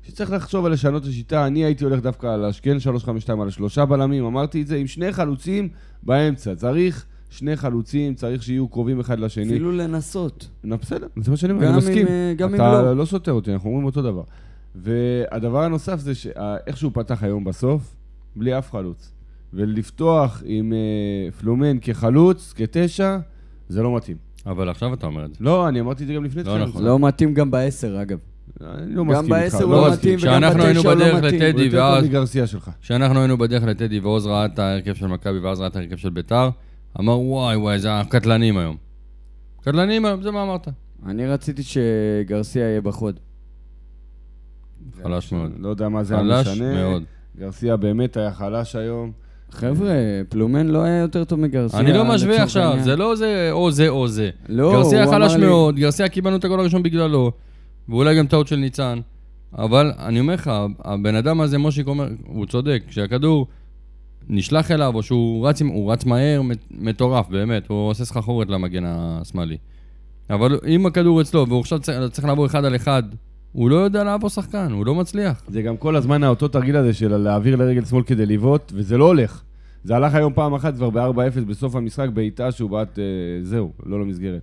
שצריך לחשוב על לשנות את השיטה. אני הייתי הולך דווקא על השכן 352, על השלושה בלמים, אמרתי את זה, עם שני חלוצים באמצע. צריך שני חלוצים, צריך שיהיו קרובים אחד לשני. אפילו לנסות. נו, בסדר, זה מה שאני אומר, גם אני אם, מסכים. אה, גם אם אתה לא. לא סותר אותי, אנחנו אומרים אותו דבר. והדבר הנוסף זה שה- איך שהוא פתח היום בסוף, בלי אף חלוץ. ולפתוח עם אה, פלומן כחלוץ, כתשע, זה לא מתאים. אבל עכשיו אתה אומר את זה. לא, אני אמרתי את זה גם לפני לא תחילת נכון. המשחק. לא מתאים גם בעשר, אגב. אני לא גם מסכים איתך. בעשר הוא לא לא מסכים. מתאים וגם כשאנחנו בתשע היינו הוא לא בדרך מתאים. לטדי, הוא יותר טוב ואז- מגרסיה שלך. כשאנחנו היינו בדרך לטדי ועוז ראה את ההרכב של מכבי ועוז ראה את ההרכב של ביתר, אמר וואי וואי, זה הקטלנים היום. קטלנים היום, זה מה אמרת. אני רציתי שגרסיה יהיה בחוד. חלש מאוד. לא יודע מה זה היה חלש משנה. מאוד. גרסיה באמת היה חלש היום. חבר'ה, פלומן לא היה יותר טוב מגרסיה. אני לא לצורך משווה עכשיו, העניין. זה לא זה או זה או זה. לא, גרסיה הוא חלש אמר לי- מאוד, גרסיה קיבלנו את הגול הראשון בגללו, ואולי גם טעות של ניצן. אבל אני אומר לך, הבן אדם הזה, מושיק אומר, הוא צודק, כשהכדור נשלח אליו, או שהוא רץ, עם- הוא רץ מהר, מט- מטורף, באמת, הוא עושה סחחורת למגן השמאלי. אבל אם הכדור אצלו, והוא עכשיו צריך, צריך לעבור אחד על אחד, הוא לא יודע לעבור שחקן, הוא לא מצליח. זה גם כל הזמן האותו תרגיל הזה של להעביר לרגל שמאל כדי לבעוט, וזה לא הולך. זה הלך היום פעם אחת כבר ב-4-0 בסוף המשחק, בעיטה שהוא בעט, אה, זהו, לא למסגרת.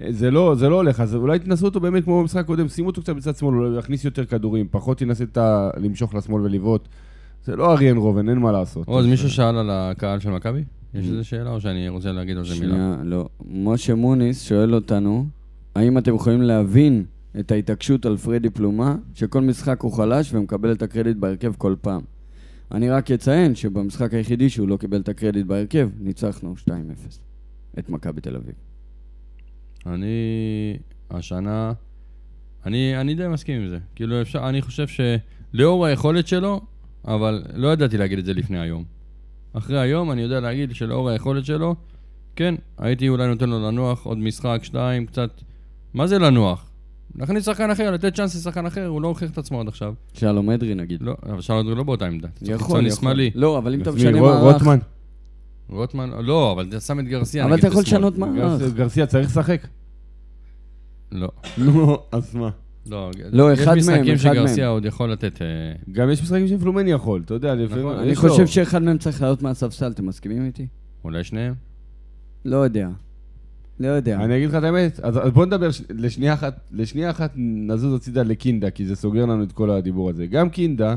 אה, זה לא, זה לא הולך, אז אולי תנסו אותו באמת כמו במשחק הקודם, שימו אותו קצת בצד שמאל, אולי יכניס יותר כדורים, פחות ינסה את ה... למשוך לשמאל ולבעוט. זה לא אריאן רובן, אין מה לעשות. עוז, מישהו שאל על הקהל של מכבי? יש איזו שאלה או שאני רוצה להגיד על זה מילה? שנייה, לא. משה מוניס שואל אותנו, האם אתם יכולים להבין את ההתעקשות על פרדי פלומה, שכל משחק הוא חלש ומקבל את הקרדיט בהרכב כל פעם? אני רק אציין שבמשחק היחידי שהוא לא קיבל את הקרדיט בהרכב, ניצחנו 2-0 את מכבי תל אביב. אני השנה, אני, אני די מסכים עם זה. כאילו, אפשר, אני חושב שלאור היכולת שלו, אבל לא ידעתי להגיד את זה לפני היום. אחרי היום אני יודע להגיד שלאור היכולת שלו, כן, הייתי אולי נותן לו לנוח עוד משחק, שתיים, קצת... מה זה לנוח? להכניס שחקן אחר, לתת צ'אנס לשחקן אחר, הוא לא הוכיח את עצמו עד עכשיו. שלום אדרי נגיד. לא, אבל שלום לא באותה עמדה. אתה צריך יכול, קיצוני יכול. שמאלי. לא, אבל אם אתה אז משנה מי, רו- מערך... רוטמן, רוטמן, לא, אבל אתה שם את גרסיה. אבל נגיד, אתה יכול בשמאל. לשנות מערך. גרס- גרסיה צריך לשחק. לא. נו, אז מה? לא, לא, אחד מהם, יש משחקים אחד מהם. שגרסיה עוד יכול לתת... אה, גם יש משחקים שפלומן יכול, אתה יודע, לפעמים... נכון. אני יש לו. חושב שאחד מהם צריך לעלות מהספסל, אתם מסכימים איתי? אולי שניהם? לא יודע. לא יודע. אני אגיד לך את האמת, אז, אז בוא נדבר ש... לשנייה אחת, לשנייה אחת נזוז הצידה לקינדה, כי זה סוגר לנו את כל הדיבור הזה. גם קינדה,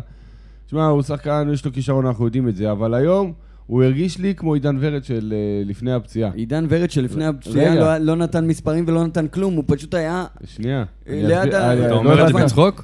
שמע, הוא שחקן, יש לו כישרון, אנחנו יודעים את זה, אבל היום הוא הרגיש לי כמו עידן ורד של אה, לפני הפציעה. עידן ורד שלפני הפציעה רגע. לא, לא נתן מספרים ולא נתן כלום, הוא פשוט היה... שנייה. אני ליד אסביר- ה- אה, אתה לא אתה אומר את ידעתי. זה בצחוק?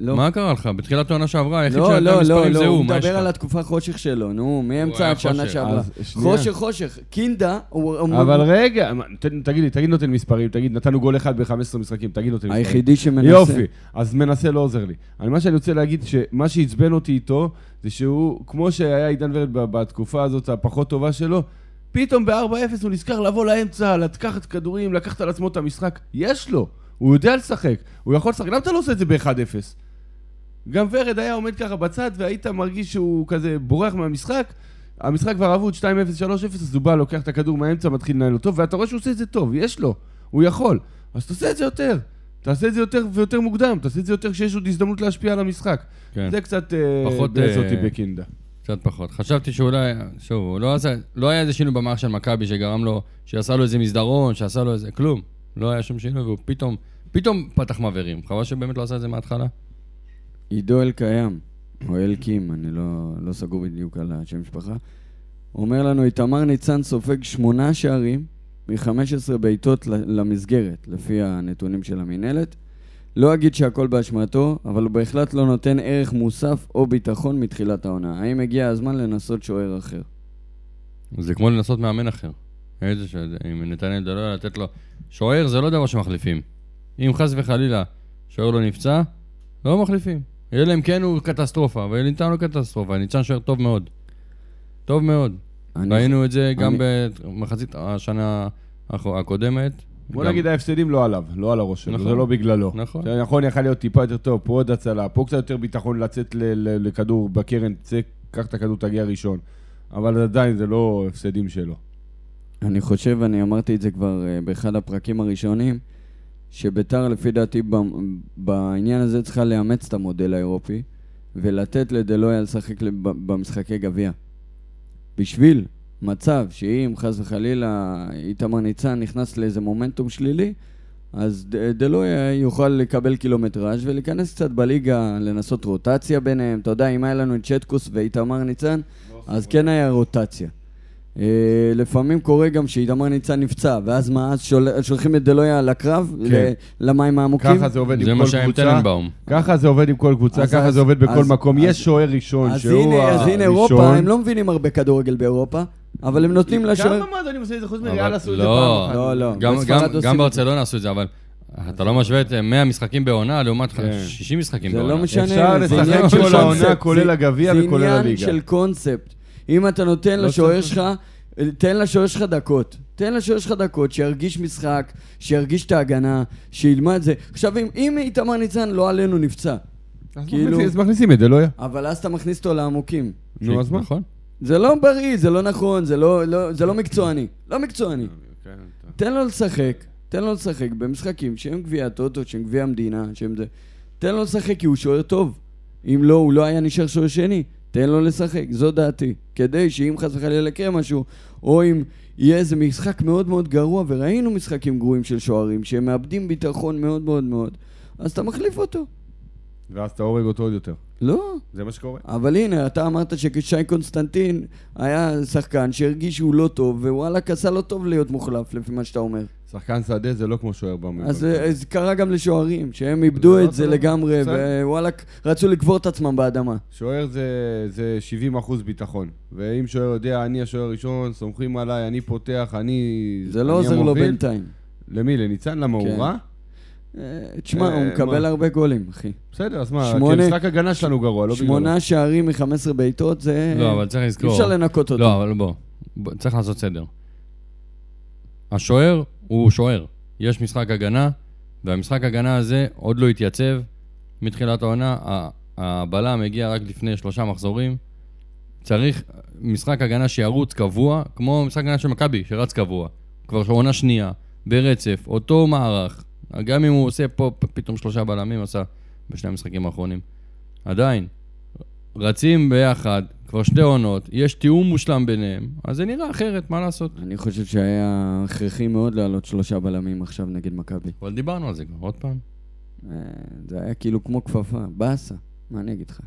לא, מה קרה לך? בתחילת העונה שעברה, היחיד לא, שנתן לא, לא, מספרים זה לא, הוא, הוא מה יש מדבר על לך? התקופה חושך שלו, נו, מאמצע היה השנה חושך. שעברה. אז שנייה. חושך, חושך. קינדה, הוא... הוא- אבל רגע, מה, תן- תגיד לי, תגיד נותן מספרים, תגיד, נתנו גול אחד ב-15 משחקים, תגיד נותן מספרים. היחידי שמנסה... יופי, אז מנסה לא עוזר לי. אני, מה שאני רוצה להגיד, שמה שעצבן אותי איתו, זה שהוא, כמו שהיה עידן ורד ב- בתקופה הזאת הפחות טובה שלו, פתאום ב-4-0 הוא נזכר לבוא לאמצע, לקחת כדורים, לקחת על עצמו את המשחק. יש לו, הוא יודע לשחק, הוא יכול לשחק. למה אתה לא עושה את זה ב-1-0? גם ורד היה עומד ככה בצד, והיית מרגיש שהוא כזה בורח מהמשחק. המשחק כבר אבוד 2-0, 3-0, אז הוא בא, לוקח את הכדור מהאמצע, מתחיל לנהל אותו, ואתה רואה שהוא עושה את זה טוב, יש לו, הוא יכול. אז תעשה את זה יותר. תעשה את זה יותר ויותר מוקדם, תעשה את זה יותר כשיש עוד הזדמנות להשפיע על המשחק. כן, זה קצת אה, פחות, ביאס אה, אותי בקינדה. קצת פחות. חשבתי שאולי, שוב, הוא לא עשה, לא היה איזה שינוי במערך של מכבי שגרם לו, שעשה לו איזה מסדרון, שעשה לו איזה, כלום. לא היה שום שינוי, והוא פתאום, פתאום פתח מעברים. חבל שבאמת לא עשה את זה מההתחלה. עידו אלקיים, או אלקים, אני לא, לא סגור בדיוק על השם משפחה, אומר לנו, איתמר ניצן סופג שמונה שערים מ-15 בעיטות ל- למסגרת, לפי הנתונים של המינהלת. לא אגיד שהכל באשמתו, אבל הוא בהחלט לא נותן ערך מוסף או ביטחון מתחילת העונה. האם הגיע הזמן לנסות שוער אחר? זה כמו לנסות מאמן אחר. איזה ש... עם נתנאל דלויה לתת לו... שוער זה לא דבר שמחליפים. אם חס וחלילה שוער לא נפצע, לא מחליפים. אלא אם כן הוא קטסטרופה, וניתן לו קטסטרופה, ניצן שוער טוב מאוד. טוב מאוד. אני- ראינו את זה גם אני- במחצית השנה האח- הקודמת. בוא גם- נגיד ההפסדים לא עליו, לא על הראש שלו, נכון. זה לא בגללו. נכון. זה נכון, יכול להיות טיפה יותר טוב, פה עוד הצלה, פה קצת יותר ביטחון לצאת ל- ל- לכדור בקרן, צא, קח את הכדור, תגיע ראשון. אבל עדיין זה לא הפסדים שלו. אני חושב, אני אמרתי את זה כבר אה, באחד הפרקים הראשונים, שביתר לפי דעתי במ- בעניין הזה צריכה לאמץ את המודל האירופי ולתת לדלויה לשחק לב- במשחקי גביע. בשביל מצב שאם חס וחלילה איתמר ניצן נכנס לאיזה מומנטום שלילי, אז ד- דלויה יוכל לקבל קילומטראז' ולהיכנס קצת בליגה, לנסות רוטציה ביניהם. אתה יודע, אם היה לנו את שטקוס ואיתמר ניצן, אז כן היה רוטציה. אה, לפעמים קורה גם שאיתמר ניצן נפצע, ואז מה, אז שול- שולחים את דלויה לקרב, כן. ל- למים העמוקים. ככה זה עובד זה עם מה כל שהיה עם קבוצה. טננבאום. ככה זה עובד עם כל קבוצה, אז- ככה אז- זה עובד בכל אז- מקום. אז- יש שוער ראשון, אז שהוא הנה, אז הנה אירופה, נכון, הראשון. הם לא מבינים הרבה כדורגל באירופה, אבל הם נותנים לשוער... כמה מועדונים עושים את זה חוץ אבל- מריאל עשו את זה לא, פעם אחת? לא, לא. גם- בספרד גם- עושים את גם זה. ברצלונה עשו את זה, אבל אתה לא משווה את 100 משחקים בעונה לעומת כן. 60 משחקים זה בעונה. לא משנה, אפשר זה לשחק עניין של כל העונה, קונספט. כולל זה- הגביע וכולל זה עניין הליגה. של קונספט. אם אתה נותן לא לשוער צריך- שלך, תן לשוער שלך דקות. תן לשוער שלך דקות, שירגיש משחק, שירגיש את ההגנה, שילמד זה. עכשיו, אם- אם איתמר ניצן לא עלינו נפצע, אז כאילו- מכניסים- אז מכניסים את זה, לא היה. אבל אז אתה מכניס אותו לעמוקים. נו, אז מה? נכון. זה לא בריא, זה לא נכון, זה לא, לא, זה לא מקצועני. לא מקצועני. תן לו לשחק, תן לו לשחק במשחקים שהם גביע הטוטו, שהם גביע המדינה, שהם זה. תן לו לשחק כי הוא שוער טוב. אם לא, הוא לא היה נשאר שוער שני. תן לו לשחק, זו דעתי. כדי שאם חס וחלילה יקרה משהו, או אם יהיה איזה משחק מאוד מאוד גרוע, וראינו משחקים גרועים של שוערים, שהם מאבדים ביטחון מאוד מאוד מאוד, אז אתה מחליף אותו. ואז אתה הורג אותו עוד יותר. לא. זה מה שקורה. אבל הנה, אתה אמרת ששי קונסטנטין היה שחקן שהרגיש שהוא לא טוב, ווואלכ עשה לא טוב להיות מוחלף, לפי מה שאתה אומר. שחקן שדה זה לא כמו שוער במובן. אז אה, זה קרה גם לשוערים, שהם איבדו לא את זה טוב. לגמרי, בסדר. ווואלכ, רצו לקבור את עצמם באדמה. שוער זה, זה 70 אחוז ביטחון. ואם שוער יודע, אני השוער הראשון, סומכים עליי, אני פותח, אני... זה לא אני עוזר לו המוביל. בינתיים. למי? לניצן? למה כן. הוא רע? אה, תשמע, אה, הוא מקבל מה? הרבה גולים, אחי. בסדר, אז מה? שמונה- כי משחק הגנה שלנו גרוע, לא בגללו. שמונה שערים מ-15 בעיטות, זה... לא, אבל צריך לזכור. אי אפשר לנקות אותו. לא, אבל בוא, בוא, צריך לעשות סדר. השוער הוא שוער. יש משחק הגנה, והמשחק הגנה הזה עוד לא התייצב מתחילת העונה. ה- הבלם הגיע רק לפני שלושה מחזורים. צריך משחק הגנה שירוץ קבוע, כמו משחק הגנה של מכבי, שרץ קבוע. כבר עונה שנייה, ברצף, אותו מערך. גם אם הוא עושה פה פ- פתאום שלושה בלמים, עשה בשני המשחקים האחרונים. עדיין, רצים ביחד, כבר שתי עונות, יש תיאום מושלם ביניהם, אז זה נראה אחרת, מה לעשות? אני חושב שהיה הכרחי מאוד לעלות שלושה בלמים עכשיו נגד מכבי. אבל דיברנו על זה כבר, עוד פעם. אה, זה היה כאילו כמו כפפה, באסה, מה אני אגיד לך?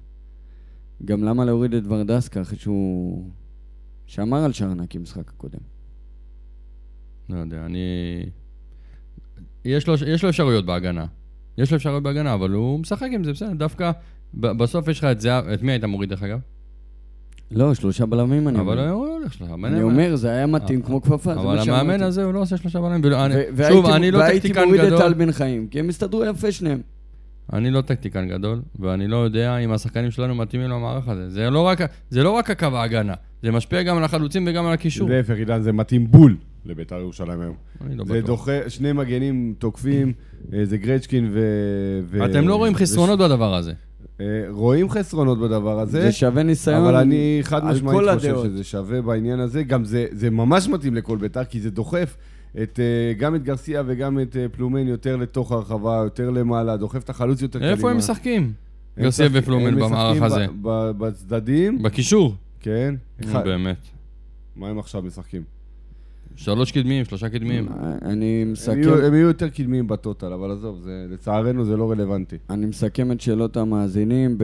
גם למה להוריד את ורדסקה אחרי שהוא... שמר על שרנקי משחק הקודם. לא יודע, אני... יש לו, יש לו אפשרויות בהגנה. יש לו אפשרויות בהגנה, אבל הוא משחק עם זה, בסדר, דווקא... ב- בסוף יש לך את זהב, את מי היית מוריד דרך אגב? לא, שלושה בלמים אני אבל אומר. הוא הולך שלך. אני אומר, זה היה מתאים אה, כמו כפפה, זה אבל מה שאמרתי. המאמן הזה הוא לא עושה שלושה בלמים. ולא- אני- ו- והייתי- שוב, אני לא והייתי טקטיקן מוריד את טל גדול. בן חיים, כי הם הסתדרו יפה שניהם. אני לא טקטיקן גדול, ואני לא יודע אם השחקנים שלנו מתאימים למערך הזה. זה לא רק- זה לא רק הקו ההגנה, זה משפיע גם על החלוצים וגם על הקישור. להפך, עידן, זה מתאים בול לבית"ר ירושלים היום. אני לא זה בטוח. דוחה, שני מגנים תוקפים, אה, זה גרצ'קין ו... ו- אתם לא רואים וש- חסרונות בדבר הזה. אה, רואים חסרונות בדבר הזה. זה שווה ניסיון אבל אני חד על משמעית כל חושב הדעות. שזה שווה בעניין הזה. גם זה, זה ממש מתאים לכל בית"ר, כי זה דוחף את, אה, גם את גרסיה וגם את אה, פלומן יותר לתוך הרחבה, יותר למעלה, דוחף את החלוץ יותר קדימה. איפה הם משחקים? הם גרסיה משחק- ופלומן הם במערך הזה. משחקים ב- ב- בצדדים, בקישור. כן. נו, אחד- באמת. מה הם עכשיו משחקים? שלוש קדמיים, שלושה קדמיים. אה, אה, אני הם מסכם, יהיו- הם יהיו יותר קדמיים בטוטל, אבל עזוב, זה- לצערנו זה לא רלוונטי. אני מסכם את שאלות המאזינים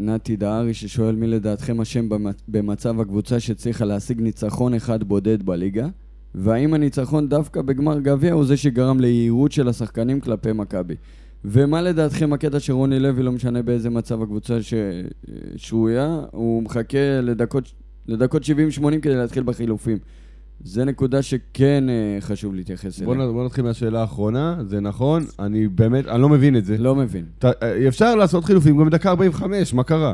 בנתי דהרי ששואל מי לדעתכם אשם במצ- במצב הקבוצה שהצליחה להשיג ניצחון אחד בודד בליגה, והאם הניצחון דווקא בגמר גביע הוא זה שגרם ליהירות של השחקנים כלפי מכבי. ומה לדעתכם הקטע שרוני לוי, לא משנה באיזה מצב הקבוצה ש... שהוא היה, הוא מחכה לדקות, לדקות 70-80 כדי להתחיל בחילופים. זה נקודה שכן אה, חשוב להתייחס בוא לא. אליה. נ- בוא נתחיל מהשאלה האחרונה, זה נכון, אני באמת, אני לא מבין את זה. לא מבין. אתה- אה, אפשר לעשות חילופים גם בדקה 45, מה קרה?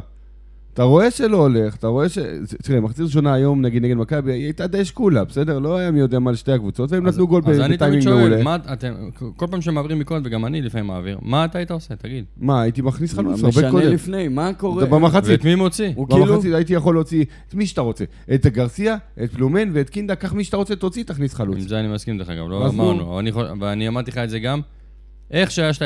אתה רואה שלא הולך, אתה רואה ש... תראה, מחצית ראשונה היום, נגיד נגד מכבי, היא הייתה די שקולה, בסדר? לא היה מי יודע מה לשתי הקבוצות, והם נתנו גול ב- אז אני תמיד בטיימינג שואל, מעולה. מה אתם, כל פעם שמעבירים ביקורת, וגם אני לפעמים מעביר, מה אתה היית עושה? תגיד. מה, הייתי מכניס חלוץ הרבה משנה קודם. לפני, מה קורה? אתה במחצית, ואת מי מוציא? הוא כאילו... במחצית הייתי יכול להוציא את מי שאתה רוצה. את גרסיה, את פלומן ואת קינדה, קח מי שאתה רוצה, תוציא, תכניס חלוץ. עם זה אני מסכים דרך אגב, לא אז נו. אמרנו. אבל אני חו- ואני אמרתי לך את זה גם. איך שהיה 2-0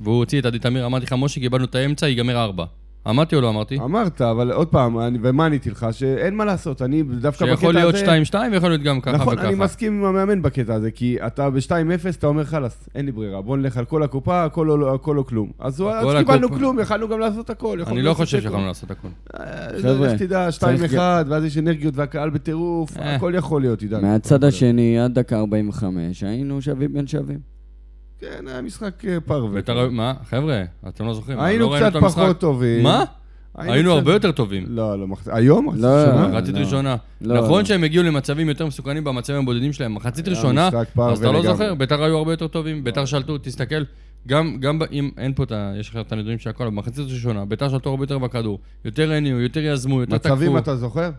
והוא הוציא את עדי תמיר, אמרתי לך, משה, קיבלנו את האמצע, ייגמר 4. אמרתי או לא אמרתי? אמרת, אבל עוד פעם, אני- ומה עניתי לך? שאין מה לעשות, אני דווקא בקטע הזה... שיכול להיות 2-2 ויכול להיות גם ככה נכון, אני וככה. מסכים עם המאמן בקטע הזה, כי אתה ב-2-0, אתה אומר, חלאס, אין לי ברירה, בוא נלך על כל הקופה, הכל או, לא- הכל או כלום. אז, הוא- הכל אז קיבלנו הקופה. כלום, יכלנו גם לעשות הכל. אני יכולנו לא לעשות חושב תיקו. שיכולנו לעשות הכול. אה, חבר'ה, לך תדע, 2-1, ואז יש אנרגיות והקהל בטירוף, אה. הכל יכול להיות, עידן. אה, מהצד השני, עד דקה 45, היינו שווים בין שווים. כן, היה משחק אה, פרווה. בית"ר- מה? חבר'ה, אתם לא זוכרים. היינו לא ראינו קצת את המשחק. פחות טובים. מה? היינו קצת- הרבה יותר טובים. לא, לא, מחצ- היום? מחצית לא, ראשונה? לא, מחצית ראשונה. לא, נכון לא. שהם הגיעו למצבים יותר מסוכנים במצבים הבודדים שלהם. מחצית היה ראשונה, משחק פרווה אז אתה לא לגמרי. זוכר, ביתר היו הרבה יותר טובים, ביתר שלטו, תסתכל. גם, גם ב- אם אין פה את ה... יש לך את הנתונים של הכל, אבל במחצית ראשונה, ביתר שלטו הרבה יותר בכדור. יותר הניעו, יותר יזמו, יותר תקפו. מצבים אתה זוכר?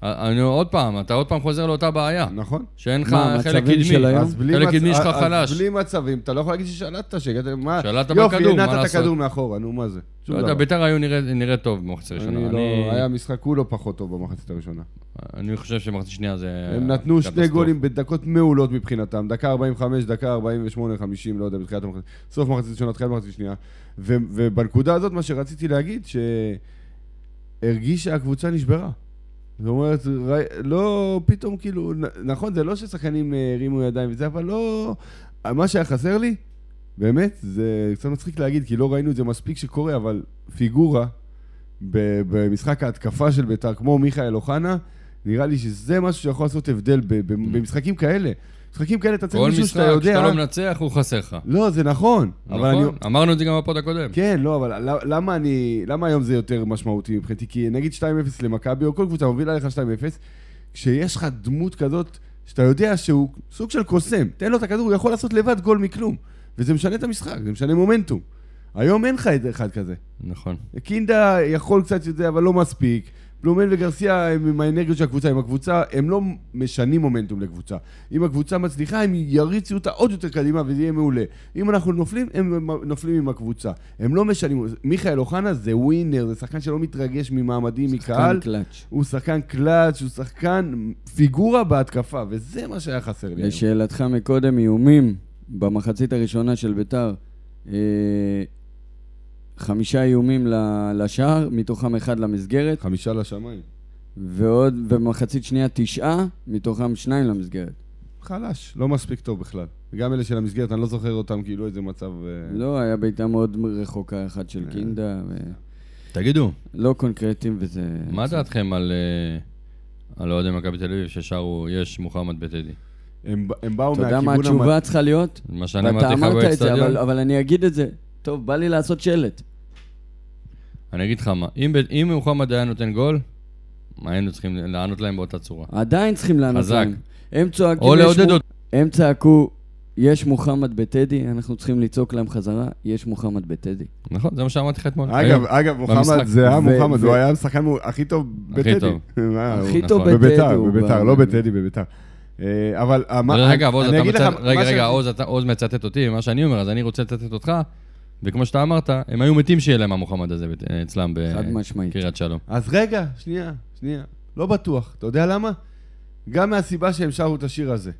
א- אני עוד פעם, אתה עוד פעם חוזר לאותה בעיה. נכון. שאין לך מה, חלק המצבים של קדמי. היום? אז בלי חלק מצ- קדמי שלך אז חלש. בלי מצבים, אתה לא יכול להגיד ששלטת, שהגעת... מה? שלטת בכדור, יופי, מה הנעת את לעשות? הכדור מאחורה, נו, מה זה? שום לא יודע, דבר. ביתר היו נראה- נראית טוב במחצית ראשונה. אני לא... היה משחק כולו פחות טוב במחצית הראשונה. אני חושב שמחצית שנייה זה... הם נתנו שני קטסטרופה. גולים בדקות מעולות מבחינתם, דקה 45, דקה 48, 50, לא יודע, בתחילת המחצית, סוף מחצית ראשונה, תחילת מחצית שנייה. ו- ובנקודה הזאת, מה שרציתי להגיד, שהרגיש שהקבוצה נשברה. זאת אומרת, ר- לא פתאום כאילו, נ- נכון, זה לא ששחקנים אה, הרימו ידיים וזה, אבל לא... מה שהיה חסר לי, באמת, זה קצת מצחיק להגיד, כי לא ראינו את זה מספיק שקורה, אבל פיגורה ב- במשחק ההתקפה של ביתר, כמו מיכאל אוחנה, נראה לי שזה משהו שיכול לעשות הבדל ב- ב- במשחקים כאלה. משחקים כאלה אתה צריך Mm. כל מישהו משחק שאתה יודע... שאתה לא מנצח, הוא חסר לך. לא, זה נכון. אבל אני... נכון, אמרנו את זה גם בפוד הקודם. כן, לא, אבל ל- למה אני... למה היום זה יותר משמעותי מבחינתי? כי נגיד 2-0 למכבי, או כל קבוצה מובילה לך 2-0, כשיש לך דמות כזאת, שאתה יודע שהוא סוג של קוסם, תן לו את הכדור, הוא יכול לעשות לבד גול מכלום. וזה משנה את המשחק, זה משנה מומנטום. היום אין לך אחד כזה. נכון. קינדה יכול קצת את זה, אבל לא מספיק. בלומן וגרסיה הם עם האנרגיות של הקבוצה, עם הקבוצה, הם לא משנים מומנטום לקבוצה. אם הקבוצה מצליחה, הם יריצו אותה עוד יותר קדימה וזה יהיה מעולה. אם אנחנו נופלים, הם נופלים עם הקבוצה. הם לא משנים, מיכאל אוחנה זה ווינר, זה שחקן שלא מתרגש ממעמדים, מקהל. כאן קלאץ'. הוא שחקן קלאץ', הוא שחקן פיגורה בהתקפה, וזה מה שהיה חסר לי היום. לשאלתך מקודם, איומים במחצית הראשונה של ביתר, אה, חמישה איומים ל- לשער, מתוכם אחד למסגרת, חמישה לשמיים. ועוד, ובמחצית שנייה תשעה, מתוכם שניים למסגרת. חלש, לא מספיק טוב בכלל. גם אלה של המסגרת, אני לא זוכר אותם, כאילו איזה מצב... אה, לא, היה בעיטה מאוד רחוקה אחת כן. של קינדה, ו- תגידו, לא קונקרטיים וזה... מה דעתכם על אה, על אוהדי מכבי תל אביב ששרו יש מוחמד בטדי? הם, הם באו אתה יודע מה מהכיוון המ- התשובה צריכה להיות? מה שאני ואתה אמרתי לך אמרת את זה, אבל- לא. באצטדיון? אבל אני אגיד את זה. טוב, בא לי לעשות שלט. אני אגיד לך מה, אם ב- אם מוחמד היה נותן גול, מה היינו צריכים לענות להם באותה צורה? עדיין צריכים לענות חזק. להם. הם צועקים... או יש לעודד מו- אותו. הם צעקו, יש מוחמד בטדי, אנחנו צריכים לצעוק להם חזרה, יש מוחמד בטדי. אה, נכון, זה מה שאמרתי לך אתמול. אוקיי? אגב, היום. אגב, במשחק. מוחמד זה היה ו- מוחמד, ו- הוא היה השחקן מו- הכי טוב בטדי. טוב. מה, הוא- הכי נכון. טוב בטדי. בביתר, הוא בביתר, בא- לא בטדי, בביתר. אה, אבל... אבל מה- רגע, עוז, אני אתה אגיד לך מצט- מה רגע, ש- רגע, עוז, אתה- עוז מצטט אותי, מה שאני אומר, אז אני רוצה לצטט אותך, וכמו שאתה אמרת, הם היו מתים שיהיה להם המוחמד הזה בת- אצלם חד משמעית. בקריית שלום. אז רגע, שנייה, שנייה. לא בטוח. אתה יודע למה? גם מהסיבה שהם שרו את השיר הזה.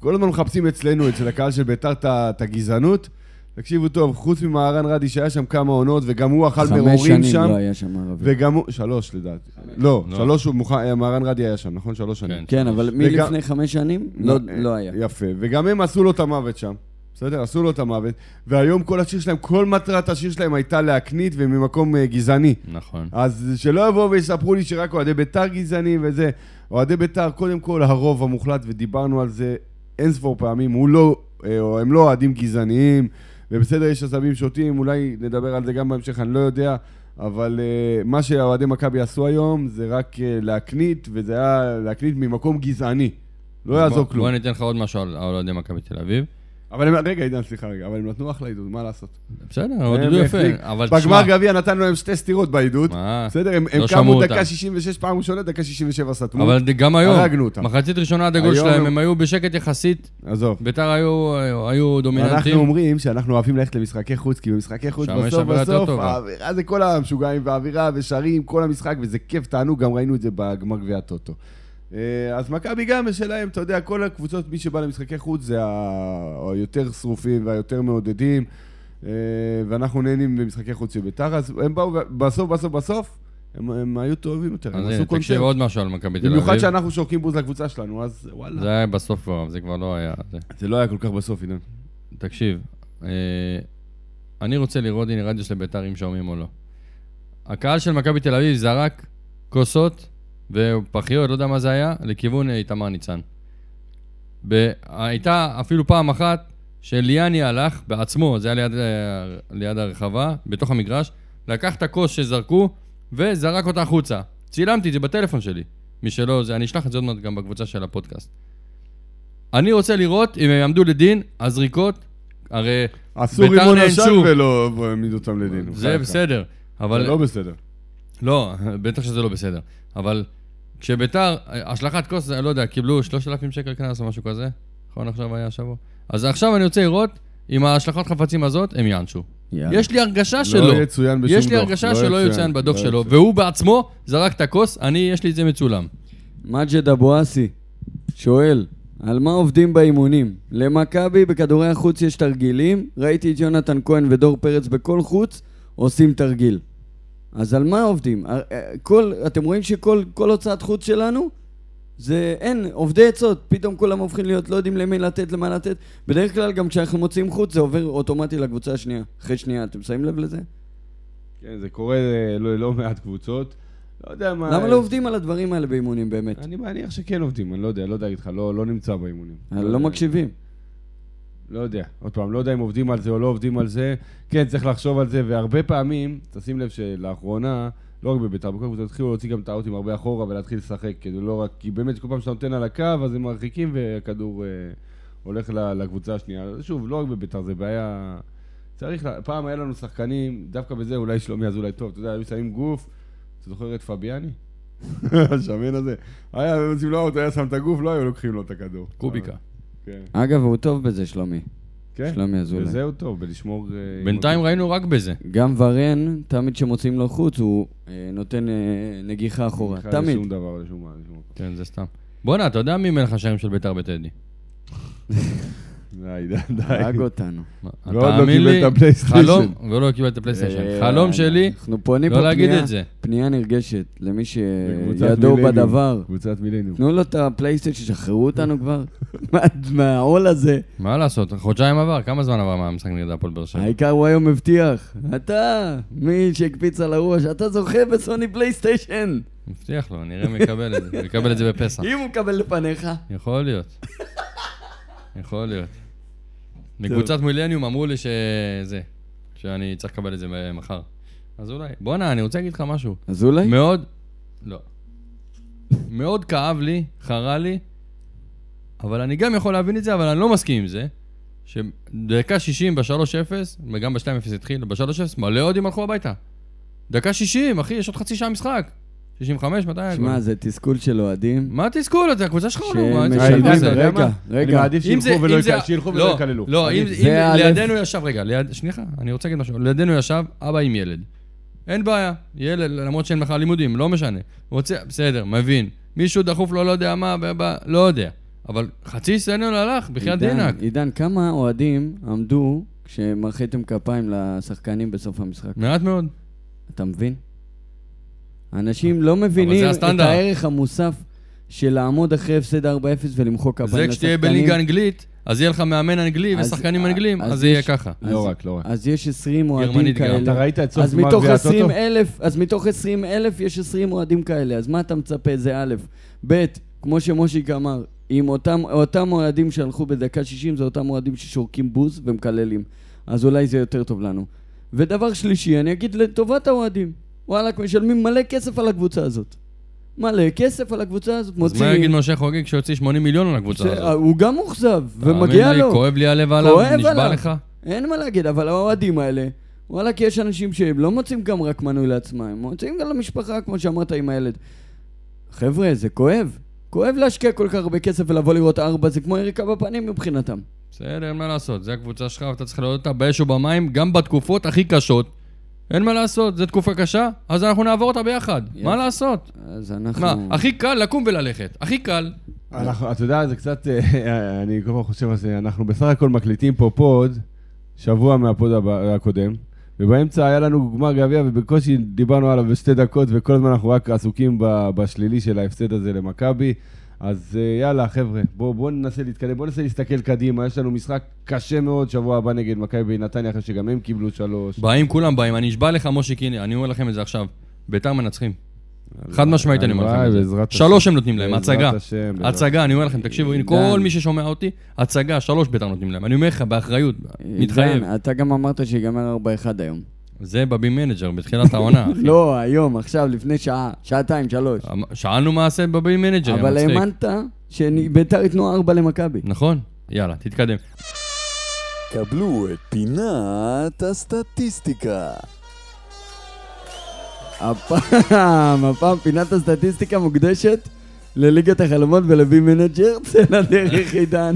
כל הזמן מחפשים אצלנו, אצל הקהל של ביתר, את ה- את הגזענות, תקשיבו טוב, חוץ ממהרן רדי שהיה שם כמה עונות, וגם הוא אכל חמש מרורים שנים שם, לא היה שם ערבי. וגם הוא... שלוש לדעתי. לא, לא. שלוש הוא מוכן... אה, מהרן רדי היה שם, נכון? שלוש שנים. כן, אבל וגם- מלפני חמש שנים לא- לא היה. יפה. וגם הם עשו לו את המוות שם. בסדר? עשו לו את המוות. והיום כל השיר שלהם, כל מטרת השיר שלהם הייתה להקנית וממקום אה, גזעני. נכון. אז שלא יבואו ויספרו לי שרק אוהדי בית"ר גזענים וזה. אוהדי בית"ר, קודם כל הרוב המוחלט, ודיברנו על זה אין ספור פעמים, הוא לא, אה, או הם לא אוהדים גזעניים, ובסדר, יש עשבים שוטים, אולי נדבר על זה גם בהמשך, אני לא יודע, אבל אה, מה שהאוהדי מכבי עשו היום זה רק אה, להקנית, וזה היה להקנית ממקום גזעני. לא יעזור בוא- כלום. בוא ניתן לך עוד משהו על על אוהדי מכבי תל אביב. אבל הם, רגע, עידן, סליחה רגע, אבל הם נתנו אחלה עידוד, מה לעשות? בסדר, עודדו הם הפליק. יפה, אבל אה, בגמר תשמע... גביע נתנו להם שתי סטירות בעידוד. מה? בסדר, הם הם לא שמעו קמו דקה אותם. 66 פעם ראשונה, דקה 67 סתמו. אבל גם היום, הרגנו אותם. מחצית ראשונה עד הגול היום שלהם, הם- הם היו בשקט יחסית, עזוב. ביתר היו- היו אנחנו דומיננטים. אומרים שאנחנו אוהבים ללכת למשחקי חוץ, כי במשחקי חוץ שם יש בסוף אווירה יותר בסוף, טובה. האווירה זה כל המשוגעים והאווירה ושרים, כל המשחק, וזה כיף, תענוג, גם ראינו את זה בגמר גביע הטוטו. אה, אז מכבי גם יש שלהם, אתה יודע, כל הקבוצות, מי שבא למשחקי חוץ זה ה- היותר שרופים והיותר מעודדים, אה, ואנחנו נהנים במשחקי חוץ של בית"ר, אז הם באו, ו- בסוף, בסוף, בסוף, הם- הם היו טובים יותר, הם אז עשו הנה, תקשיב קונצרט. עוד משהו על מכבי תל במיוחד אביב. שאנחנו שורקים בוז לקבוצה שלנו, אז וואלה. זה היה בסוף כבר, זה כבר לא היה... זה. זה לא היה כל כך בסוף, אילן. תקשיב, אה, אני רוצה לראות הנה רדיו של ביתר אם שומעים או לא. הקהל של מכבי תל אביב זרק כוסות ופחיות, לא יודע מה זה היה, לכיוון אה, איתמר ניצן. ב- הייתה אפילו פעם אחת שליאני הלך בעצמו, זה היה ליד, אה, ליד הרחבה, בתוך המגרש, לקח את הכוס שזרקו וזרק אותה החוצה. צילמתי את זה בטלפון שלי. מי שלא, זה, אני אשלח את זה עוד מעט גם בקבוצה של הפודקאסט. אני רוצה לראות אם הם יעמדו לדין, הזריקות, הרי עשו ביתר רימון נענשו. עשן ולא העמידו אותם לדין. זה בסדר, זה אבל... לא בסדר. לא, בטח שזה לא בסדר. אבל כשביתר, השלכת כוס, אני לא יודע, קיבלו 3,000 שקל קנס או משהו כזה, נכון עכשיו היה השבוע? אז עכשיו אני רוצה לראות אם ההשלכת חפצים הזאת, הם יענשו. יאללה. יש לי הרגשה שלא. לא יצוין בשום דוח. יש לי הרגשה לא שלא יוצאן בדוח לא שלו, יצוין. והוא בעצמו זרק את הכוס, אני, יש לי את זה מצולם. מג'ד אבואסי שואל, על מה עובדים באימונים? למכבי בכדורי החוץ יש תרגילים, ראיתי את יונתן כהן ודור פרץ בכל חוץ עושים תרגיל. אז על מה עובדים? אה, אה, כל, אתם רואים שכל כל הוצאת חוץ שלנו זה אין, עובדי עצות, פתאום כולם הופכים להיות לא יודעים למי לתת, למה לתת. בדרך כלל גם כשאנחנו מוציאים חוץ זה עובר אוטומטי לקבוצה השנייה, אחרי שנייה, אתם שמים לב לזה? כן, זה קורה אה, לא לא מעט קבוצות. לא יודע מה... למה לא עובדים על הדברים האלה באימונים באמת? אני מניח שכן עובדים, אני לא יודע, לא יודע להגיד לך, לא לא נמצא באימונים. לא מקשיבים. לא יודע. עוד פעם, לא יודע אם עובדים על זה או לא עובדים על זה. כן, צריך לחשוב על זה, והרבה פעמים, תשים לב שלאחרונה, לא רק בביתר, בכל קבוצה התחילו להוציא גם את האוטים הרבה אחורה ולהתחיל לשחק, כדי לא רק... כי באמת, כל פעם שאתה נותן על הקו, אז הם מרחיקים והכדור אה, הולך ל- לקבוצה השנייה. אז שוב, לא רק בביתר, זה בעיה... צריך, לה... פעם היה לנו שחקנים, דווקא בזה אולי שלומי אזולאי טוב, אתה יודע, היו שמים גוף, אתה זוכר את פביאני? השמן הזה. היה, היו יוצאים לו אאוט, היה שם את הגוף, לא היו לוקחים לו את הכדור. קוביקה. כן. אגב, הוא טוב בזה, שלומי. כן. שלומי אזולאי. וזהו טוב, בלשמור... אה, בינתיים עם- ראינו רק בזה. גם ורן, תמיד כשמוצאים לו חוץ, הוא אה, נותן אה, נגיחה אחורה. בכלל תמיד. לשום דבר, לשום מה, לשום מקום. כן, זה סתם. בואנה, אתה יודע מי מלך השערים של ביתר בטדי? די, די, הרג די. אותנו. ועוד לא תאמין קיבל לי, את הפלייסטיישן. חלום, ולא קיבל את הפלייסטיישן. אה, חלום שלי, אנחנו פונים לא פה להגיד פנייה- את זה. פנייה נרגשת למי בקבוצת שידו מילניום. אה, בדבר. קבוצת מילניום. תנו לו את הפלייסטייט, ששחררו אותנו כבר. מה- מהעול הזה. מה לעשות, חודשיים עבר, כמה זמן עבר מהמשחק נגד הפועל באר שבע? העיקר הוא היום מבטיח. אתה, מי שהקפיץ על הראש, אתה זוכה בסוני פלייסטיישן. מבטיח לו, נראה אם יקבל את זה, יקבל את זה בפסח. אם הוא מקבל לפניך. יכול להיות. יכול להיות. מקבוצת מילניום אמרו לי שזה, שאני צריך לקבל את זה מחר. אז אולי. בואנה, אני רוצה להגיד לך משהו. אז אולי? מאוד, לא. מאוד כאב לי, חרה לי, אבל אני גם יכול להבין את זה, אבל אני לא מסכים עם זה, שדקה 60 ב-3-0, וגם ב-2-0 התחיל, ב-3-0, מלא אוהדים הלכו הביתה. דקה 60, אחי, יש עוד חצי שעה משחק. 65, מתי היה שמע, גול? זה תסכול של אוהדים. מה התסכול הזה? הקבוצה שלך עולה, מה אה, שמשלמים, התסכול הזה? אתה יודע רגע, מה? רגע. אני מעדיף אם זה- שילכו ולא אם זה- יק- שילכו לא, ולא יקללו. לא, אם זה אם האלף. לידינו ישב, רגע, ליד- שנייה, אני רוצה להגיד משהו. לידינו ישב אבא עם ילד. אין בעיה, ילד, למרות שאין בכלל לימודים, לא משנה. רוצה, בסדר, מבין. מישהו דחוף לו לא יודע מה, ב- ב- לא יודע. אבל חצי סטדיון הלך, בחייאת עידן, דינק. עידן, כמה אוהדים עמדו כשמרחיתם כפיים לשחקנים בסוף המשחק. מעט מאוד. אתה מבין? אנשים לא מבינים את הסטנדרט. הערך המוסף של לעמוד אחרי הפסד 4-0 ולמחוא כפיים זה לשחקנים. כשתהיה בליגה אנגלית, אז יהיה לך מאמן אנגלי אז- ושחקנים אה, אנגלים, אז אז זה יהיה יש- ככה. אז- לא רק, לא רק. אז יש 20 אוהדים גרמנית גם. כאלה. אתה ראית את סוף אז גמר מתוך גביע 20 הטוטו? אלף, אז מתוך 20 אלף יש 20 אוהדים כאלה, אז מה אתה מצפה? זה א', ב', כמו שמושיק אמר, עם אותם, אותם אוהדים שהלכו בדקה 60, זה אותם אוהדים ששורקים בוז ומקללים. אז אולי זה יותר טוב לנו. ודבר שלישי, אני אגיד לטובת האוהדים, וואלכ, משלמים מלא כסף על הקבוצה הזאת. מלא כסף על הקבוצה הזאת, אז מה מוציאים. יגיד משה חוגג שהוציא 80 מיליון על הקבוצה ש- אה, הזאת? הוא גם מאוכזב, תאמין ומגיע לי, לו. כואב לי הלב עליו, כואב נשבע עליו. לך. אין מה להגיד, אבל האוהדים האלה, וואלכ, יש אנשים שהם לא מוצאים גם רק מנוי לעצמם, הם מוצאים גם למשפחה, כמו שאמרת, עם הילד. חבר'ה, זה כואב. כואב להשקיע כל כך הרבה כסף ולבוא לראות ארבע, זה כמו יריקה בפנים מבחינתם. בסדר, אין מה לעשות, זה הקבוצה שלך ואתה צריך לעלות אותה באש ובמים, גם בתקופות הכי קשות. אין מה לעשות, זו תקופה קשה, אז אנחנו נעבור אותה ביחד. מה לעשות? אז אנחנו... מה, הכי קל לקום וללכת, הכי קל. אנחנו, אתה יודע, זה קצת, אה, אני כל הזמן חושב על זה, אנחנו בסך הכל מקליטים פה פוד, שבוע מהפוד הבא- הקודם, ובאמצע היה לנו גמר גביע, ובקושי דיברנו עליו בשתי דקות, וכל הזמן אנחנו רק עסוקים ב- בשלילי של ההפסד הזה למכבי. אז אה, יאללה, חבר'ה, בואו בוא ננסה להתקדם, בואו ננסה להסתכל קדימה, יש לנו משחק קשה מאוד שבוע הבא נגד מכבי נתניה, אחרי שגם הם קיבלו שלוש. באים, כולם באים, אני נשבע לך, מושיק, הנה, אני אומר לכם את זה עכשיו. ביתר מנצחים. חד משמעית אני אומר לכם הלוואי, את זה. בעזרת שלוש השם. הם נותנים להם, בעזרת הצגה. השם, בעזרת- הצגה, אני אומר לכם, תקשיבו, הנה, עידן. כל מי ששומע אותי, הצגה, שלוש ביתר נותנים להם. אני אומר לך, באחריות, עידן, מתחייב. אתה גם אמרת שיגמר 4-1 היום. זה בבי מנג'ר, בתחילת העונה. אחי. לא, היום, עכשיו, לפני שעה, שעתיים, שלוש. אמ- שאלנו מה עשה בבי מנג'ר, יא אבל מצחיק. האמנת שביתר ייתנו ארבע למכבי. נכון? יאללה, תתקדם. קבלו את פינת הסטטיסטיקה. הפעם, הפעם פינת הסטטיסטיקה מוקדשת לליגת החלומות ולבי מנג'ר, צא לדרך עידן.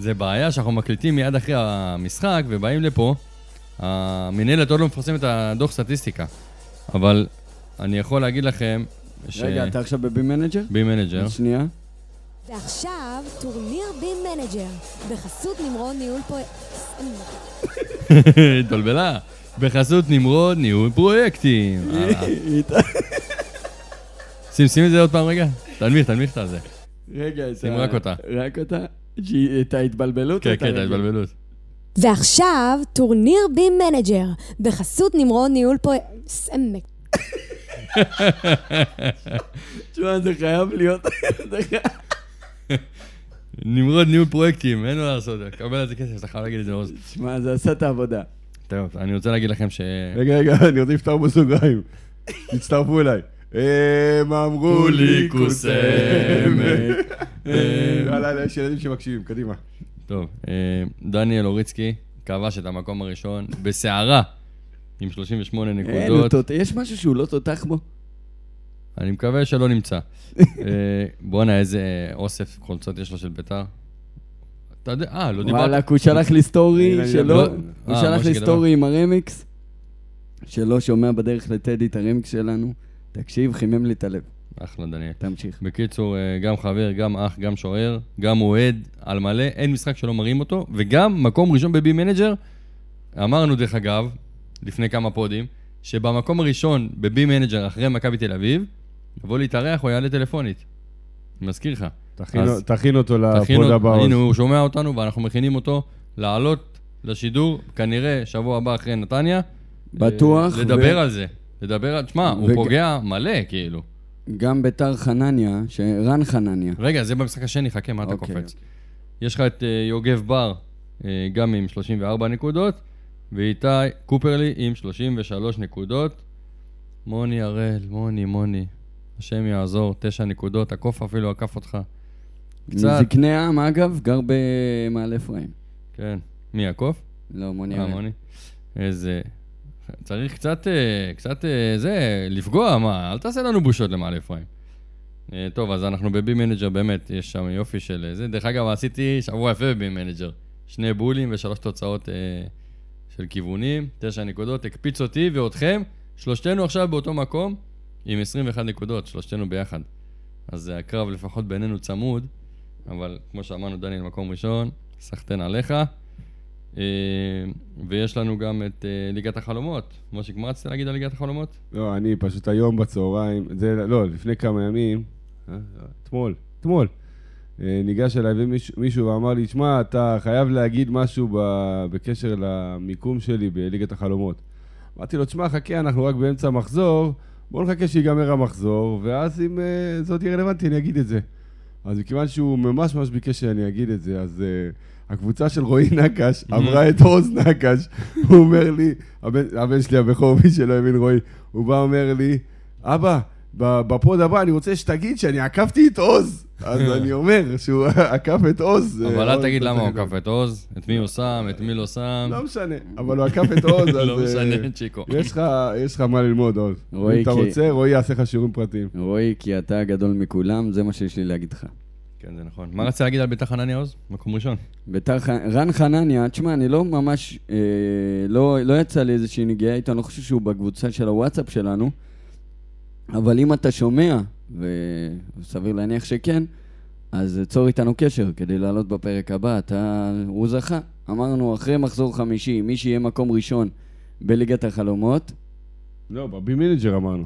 זה בעיה שאנחנו מקליטים מיד אחרי המשחק ובאים לפה. המינהלת עוד לא מפרסמת את הדוח סטטיסטיקה, אבל אני יכול להגיד לכם ש... רגע, אתה עכשיו בבי מנג'ר? בי מנג'ר. שנייה. ועכשיו, טורניר בין מנג'ר, בחסות נמרון ניהול פועל... התבלבלה. בחסות נמרוד, ניהול פרויקטים. אה, שים, שים את זה עוד פעם רגע. תנמיך, תנמיך את הזה. כן, רגע, אז שים ה- רק אותה. רק אותה? שהיא- את ההתבלבלות? כן, אתה כן, את רגע. ההתבלבלות. ועכשיו, טורניר בים מנג'ר, בחסות נמרון ניהול פועל... סמק. תשמע, זה חייב להיות... זה חייב- נמרוד, ניהול פרויקטים, אין מה לעשות. קבל על זה כסף, אתה חייב להגיד את זה עוז. תשמע, זה עשה את העבודה. טוב, אני רוצה להגיד לכם ש... רגע, רגע, אני רוצה לפתוח בסוגריים. תצטרפו אליי. אה, הם אמרו לי קוסמת. יאללה, יאללה, אה, יש ילדים שמקשיבים, קדימה. טוב, אה, דניאל אוריצקי כבש את המקום הראשון בסערה עם 38 אין, הוא נקודות. תות- יש משהו שהוא לא תותח בו? אני מקווה שלא נמצא. אה, בואנה, איזה אוסף חולצות יש לו של ביתר. אתה יודע, אה, לא דיברת. וואלכ, הוא שלח לי סטורי אה, אני שלו, לא- הוא אה, שלח משה לי גדול. סטורי עם הרמיקס, שלו שומע בדרך לטדי את הרמיקס שלנו. תקשיב, חימם לי את הלב. אחלה, דניאל. תמשיך. בקיצור, אה, גם חבר, גם אח, גם שוער, גם אוהד, על מלא, אין משחק שלא מראים אותו, וגם מקום ראשון בבי מנג'ר, אמרנו דרך אגב, לפני כמה פודים, שבמקום הראשון בבי מנג'ר אחרי מכבי תל אביב, יבוא להתארח או יעלה טלפונית. אני מזכיר לך. אז תכין אותו תכין לפוד אותו- אה, הבא. הנה, הוא שומע אותנו ואנחנו מכינים אותו לעלות לשידור, כנראה שבוע הבא אחרי נתניה. בטוח. אה, לדבר ו- על זה. לדבר על... תשמע, הוא וג- פוגע מלא, כאילו. גם ביתר חנניה, ש- רן חנניה. רגע, זה במשחק השני, חכה, מה אתה אוקיי, קופץ? יש לך את אה, יוגב בר, אה, גם עם 34 נקודות, ואיתי קופרלי עם 33 נקודות. מוני הראל, מוני, מוני, השם יעזור, 9 נקודות, הקוף אפילו עקף אותך. קצת. מזקני העם, אגב, גר במעלה אפרים. כן. מי, הקוף? לא, מוני אה, הראל. מוני. איזה... צריך קצת, אה, קצת, אה, זה, לפגוע, מה? אל תעשה לנו בושות למעלה אפרים. אה, טוב, אז אנחנו בבי מנג'ר, באמת, יש שם יופי של אה, זה. דרך אגב, עשיתי שבוע יפה בבי מנג'ר. שני בולים ושלוש תוצאות אה, של כיוונים, תשע נקודות, הקפיץ אותי ואתכם. שלושתנו עכשיו באותו מקום עם 21 נקודות, שלושתנו ביחד. אז אה, הקרב לפחות בינינו צמוד, אבל כמו שאמרנו, דניאל, מקום ראשון, סחטיין עליך. אה, ויש לנו גם את אה, ליגת החלומות. מושיק, מה רצית להגיד על ליגת החלומות? לא, אני פשוט היום בצהריים, זה לא, לפני כמה ימים, אה? אתמול, אתמול, אה, ניגש אליי ומישהו- מישהו ואמר לי, שמע, אתה חייב להגיד משהו ב- בקשר למיקום שלי בליגת החלומות. אמרתי לו, תשמע, חכה, אנחנו רק באמצע המחזור, בוא נחכה שיגמר המחזור, ואז אם אה, זה עוד יהיה רלוונטי, אני אגיד את זה. אז מכיוון שהוא ממש ממש ביקש שאני אגיד את זה, אז uh, הקבוצה של רועי נקש Mm-hmm. עברה את עוז נקש. הוא אומר לי, הבן, הבן שלי הבכור, מי שלא הבין רועי, הוא בא אומר לי, אבא, ב- בפוד הבא אני רוצה שתגיד שאני עקפתי את עוז. אז אני אומר שהוא עקף את עוז. אבל אה, אל עוז תגיד זה למה הוא בסדר. עקף את עוז, את מי הוא שם, את מי לא שם. לא משנה, אבל הוא עקף את עוז, אז... לא אה, משנה, צ'יקו. יש לך, יש לך מה ללמוד, עוז. רועי, אם אתה כי- רוצה, רועי יעשה לך שיעורים פרטיים. רועי, כי אתה הגדול מכולם, זה מה שיש לי להגיד לך. כן, זה נכון. מה רצית להגיד על ביתר חנניה עוז? מקום ראשון. ביתר, ח- רן חנניה, תשמע, אני לא ממש, אה, לא, לא יצא לי איזושהי נגיעה איתו, אני לא חושב שהוא בקבוצה של הוואטסאפ שלנו, אבל אם אתה שומע, וסביר להניח שכן, אז צור איתנו קשר כדי לעלות בפרק הבא. אתה, הוא זכה. אמרנו, אחרי מחזור חמישי, מי שיהיה מקום ראשון בליגת החלומות, לא, בבי מנג'ר אמרנו.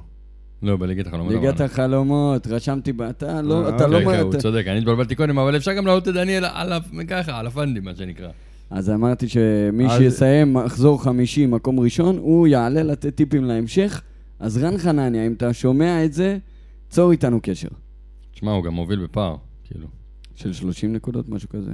לא, בליגת החלומות. ליגת אמרנו. החלומות, רשמתי, ב- אתה לא, אה, אתה לא, כן, כן, אתה- הוא צודק, אני התבלבלתי קודם, אבל אפשר גם להעלות את דניאל על ה- ככה, על הפנדים, מה שנקרא. אז אמרתי שמי אז- שיסיים מחזור חמישי, מקום ראשון, הוא יעלה לתת טיפים להמשך. אז רן חנניה, אם אתה שומע את זה, צור איתנו קשר. תשמע, הוא גם מוביל בפער, כאילו. של 30 נקודות, משהו כזה.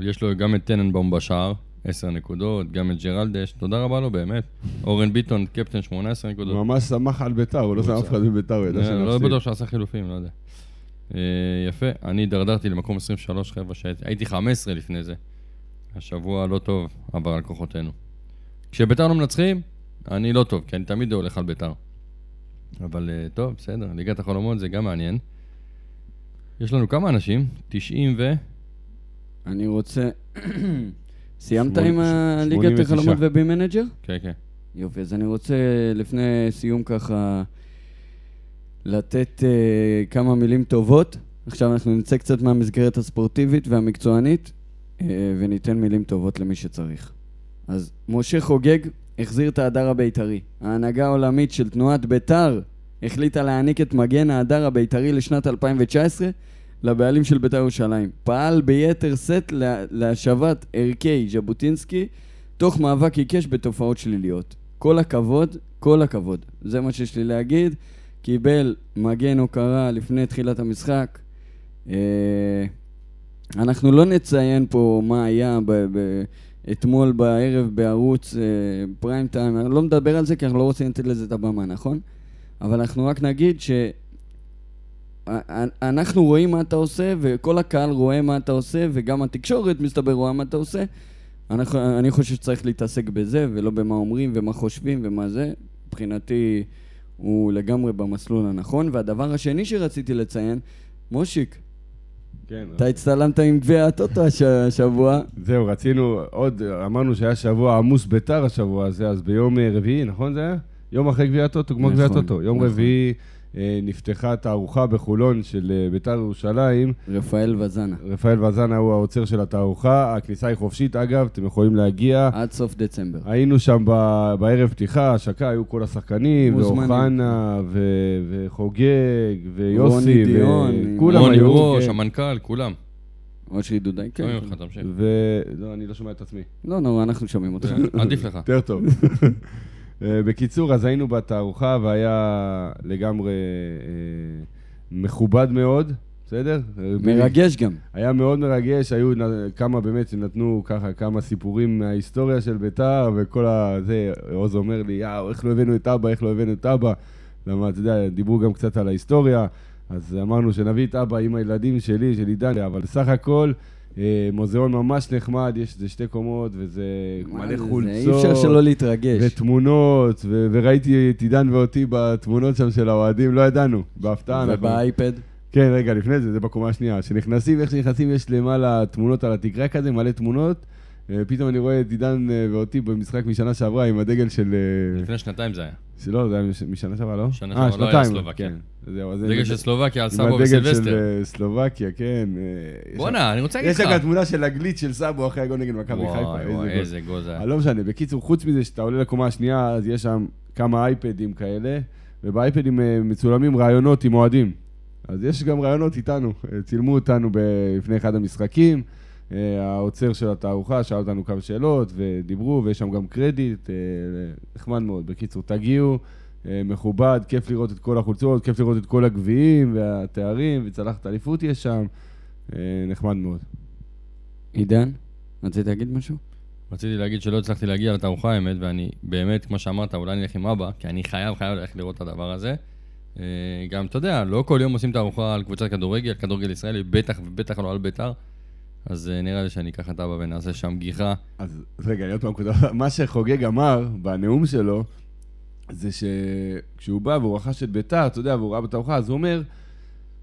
יש לו גם את טננבאום בשער, 10 נקודות, גם את ג'רלדש, תודה רבה לו, באמת. אורן ביטון, קפטן 18 הוא נקודות. ממש שמח על ביתר, הוא לא שם אף אחד מביתר, הוא ידע אה, לא שנפסיד. בטוח שעשה חילופים, לא יודע. אה, יפה, אני הידרדרתי למקום 23, חבר'ה, שהייתי הייתי 15 לפני זה. השבוע לא טוב עבר על כוחותינו. כשביתר לא מנצחים, אני לא טוב, כי אני תמיד הולך על ביתר. אבל אה, טוב, בסדר, ליגת החלומות זה גם מעניין. יש לנו כמה אנשים? 90 ו... אני רוצה... סיימת שמונה- עם הליגת 89. החלומות ובי מנג'ר? כן, כן. יופי, אז אני רוצה לפני סיום ככה לתת אה, כמה מילים טובות. עכשיו אנחנו נצא קצת מהמסגרת הספורטיבית והמקצוענית, אה, וניתן מילים טובות למי שצריך. אז משה חוגג החזיר את ההדר הבית"רי. ההנהגה העולמית של תנועת בית"ר החליטה להעניק את מגן ההדר הבית"רי לשנת 2019 לבעלים של בית"ר ירושלים. פעל ביתר שאת לה, להשבת ערכי ז'בוטינסקי תוך מאבק עיקש בתופעות שליליות. כל הכבוד, כל הכבוד. זה מה שיש לי להגיד. קיבל מגן הוקרה לפני תחילת המשחק. אה, אנחנו לא נציין פה מה היה ב- ב- אתמול בערב בערוץ אה, פריים טיים, אני לא מדבר על זה כי אנחנו לא רוצים לתת לזה את הבמה, נכון? אבל אנחנו רק נגיד ש... אנ- אנחנו רואים מה אתה עושה, וכל הקהל רואה מה אתה עושה, וגם התקשורת מסתבר רואה מה אתה עושה. אנחנו, אני חושב שצריך להתעסק בזה, ולא במה אומרים ומה חושבים ומה זה. מבחינתי הוא לגמרי במסלול הנכון. והדבר השני שרציתי לציין, מושיק, כן, אתה הצטלמת עם גביע הטוטו הש- השבוע. זהו, רצינו עוד, אמרנו שהיה שבוע עמוס ביתר השבוע הזה, אז ביום אה, רביעי, נכון זה היה? יום אחרי גביע הטוטו, כמו נכון, גביע הטוטו. יום נכון. רביעי אה, נפתחה תערוכה בחולון של אה, ביתר ירושלים. רפאל וזנה, רפאל וזנה הוא האוצר של התערוכה. הכניסה היא חופשית, אגב, אתם יכולים להגיע. עד סוף דצמבר. היינו שם ב- בערב פתיחה, השקה, היו כל השחקנים, מוזמנים. ואוחנה, ו- וחוגג, ויוסי, רוני דיון, וכולם רוני היו. ראש, כן. המנכ"ל, כולם. אושרי דודאי, כן. שומעים אותך, תמשיך. ו... לא, אני לא שומע את עצמי. לא נורא, אנחנו שומעים אותך. עדיף לך. יותר טוב. אה, בקיצור, אז היינו בתערוכה והיה לגמרי אה, מכובד מאוד, בסדר? אה, מרגש גם. היה מאוד מרגש, היו נ- כמה באמת שנתנו ככה כמה סיפורים מההיסטוריה של ביתר וכל ה... זה, עוז אומר לי, יאו, איך לא הבאנו את אבא, איך לא הבאנו את אבא. למה, אתה יודע, דיברו גם קצת על ההיסטוריה, אז אמרנו שנביא את אבא עם הילדים שלי, של עידניה, אבל בסך הכל, אה, מוזיאון ממש נחמד, יש איזה שתי קומות וזה מה זה, מלא זה חולצות. אי אפשר שלא להתרגש. ותמונות, ו- וראיתי את עידן ואותי בתמונות שם של האוהדים, לא ידענו, בהפתעה. אנחנו- ובאייפד. כן, רגע, לפני זה, זה בקומה השנייה. כשנכנסים, איך שנכנסים, יש למעלה תמונות על התקרה כזה, מלא תמונות. אה, פתאום אני רואה את עידן אה, ואותי במשחק משנה שעברה עם הדגל של... אה, לפני שנתיים זה היה. שלא, זה היה מש- משנה שעברה, לא? שנה אה, שעברה לא היה שנתיים, סלובקיה. כן. אז זהו, אז אני- דגל של סלובקיה על עם סבו הדגל של וסילבסטר. אה, סלובקיה, כן. אה, יש בואנה, אני רוצה שם- להגיד יש לך. שם גם תמונה של הגליץ' של סאבו אחרי הגול נגד מכבי חיפה, וואי, איזה גול. וואי, איזה גול זה היה. אה, לא משנה, בקיצור, חוץ מזה שאתה עולה לקומה השנייה, אז יש שם כמה אייפדים כאלה, ובאייפדים אה, מצולמים ראיונות עם אוהדים. אז יש גם ראיונות איתנו, אה, צילמו אותנו ב- לפני אחד המשחקים, אה, העוצר של התערוכה שאל אותנו כמה שאלות, ודיברו, ויש שם גם קרדיט, אה, נחמד מאוד. בקיצור, תגיעו, אה, מכובד, כיף לראות את כל החולצות, כיף לראות את כל הגביעים והתארים, וצלחת אליפות יש שם, אה, נחמד מאוד. עידן, רצית להגיד משהו? רציתי להגיד שלא הצלחתי להגיע לתערוכה האמת, ואני באמת, כמו שאמרת, אולי נלך עם אבא, כי אני חייב, חייב ללכת לראות את הדבר הזה. אה, גם, אתה יודע, לא כל יום עושים תערוכה על קבוצת כדורגל, כדורגל ישראלי, בטח ובטח לא על בית"ר. אז אה, נראה לי שאני אקח את אבא ונעשה שם גיחה. אז רגע, אני עוד פעם כותב, מה שחוגג אמר בנאום שלו, זה שכשהוא בא והוא רכש את ביתר, אתה יודע, והוא ראה בתערוכה, אז הוא אומר,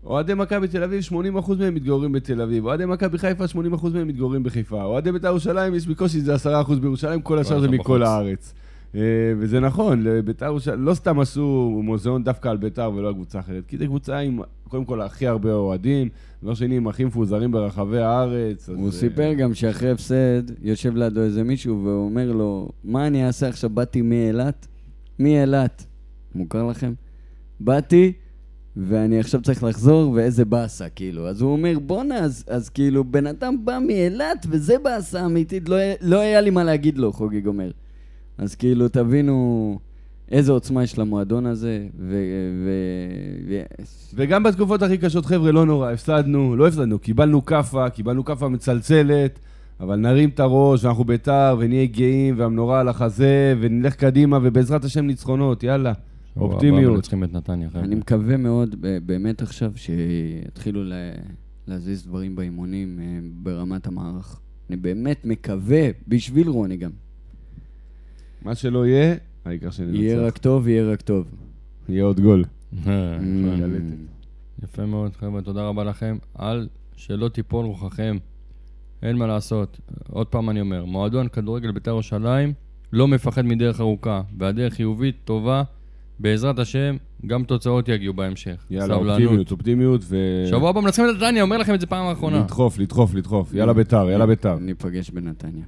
אוהדי מכבי תל אביב, 80% מהם מתגוררים בתל אביב, אוהדי מכבי חיפה, 80% מהם מתגוררים בחיפה, אוהדי ביתר ירושלים, יש בקושי איזה 10% בירושלים, כל השאר זה השאר מכל בחוץ. הארץ. אה, וזה נכון, לביתר ירושלים, לא סתם עשו מוזיאון דווקא על ביתר ולא על קבוצה אחרת, כי זו קבוצה עם, קודם כל, הכי הרבה אוהדים, דבר שני, עם הכי מפוזרים ברחבי הארץ. אז, הוא אה, סיפר גם שאחרי הפסד, יושב לידו איזה מישהו ואומר לו, מה אני אעשה עכשיו, באתי מאילת? מאילת. מוכר לכם? באתי, ואני עכשיו צריך לחזור, ואיזה באסה, כאילו. אז הוא אומר, בואנה, אז, אז כאילו, בן אדם בא מאילת, וזה באסה אמיתית, לא, היה- לא היה לי מה להגיד לו, חוגג אומר. אז כאילו, תבינו איזה עוצמה יש למועדון הזה, ו... ו, ו וגם בתקופות הכי קשות, חבר'ה, לא נורא, הפסדנו, לא הפסדנו, קיבלנו כאפה, קיבלנו כאפה מצלצלת, אבל נרים את הראש, ואנחנו ביתר, ונהיה גאים, והמנורה על החזה, ונלך קדימה, ובעזרת השם ניצחונות, יאללה. אבא אופטימיות. מנצחים את נתניה. חבר'ה. אני מקווה מאוד ב- באמת עכשיו שיתחילו לה- להזיז דברים באימונים אה, ברמת המערך. אני באמת מקווה, בשביל רוני גם. מה שלא יהיה, העיקר שננצח. יהיה רק טוב, יהיה רק טוב. יהיה עוד גול. אה, גלטת. יפה מאוד, חבר'ה, תודה רבה לכם. אל שלא תיפול רוחכם, אין מה לעשות. עוד פעם אני אומר, מועדון כדורגל בית"ר ירושלים לא מפחד מדרך ארוכה, והדרך חיובית, טובה. בעזרת השם, גם תוצאות יגיעו בהמשך. יאללה, סבלנות. אופטימיות, אופטימיות, ו... שבוע הבא מנצחים את נתניה, אומר לכם את זה פעם האחרונה. לדחוף, לדחוף, לדחוף. יאללה ביתר, יאללה ביתר. ניפגש בנתניה.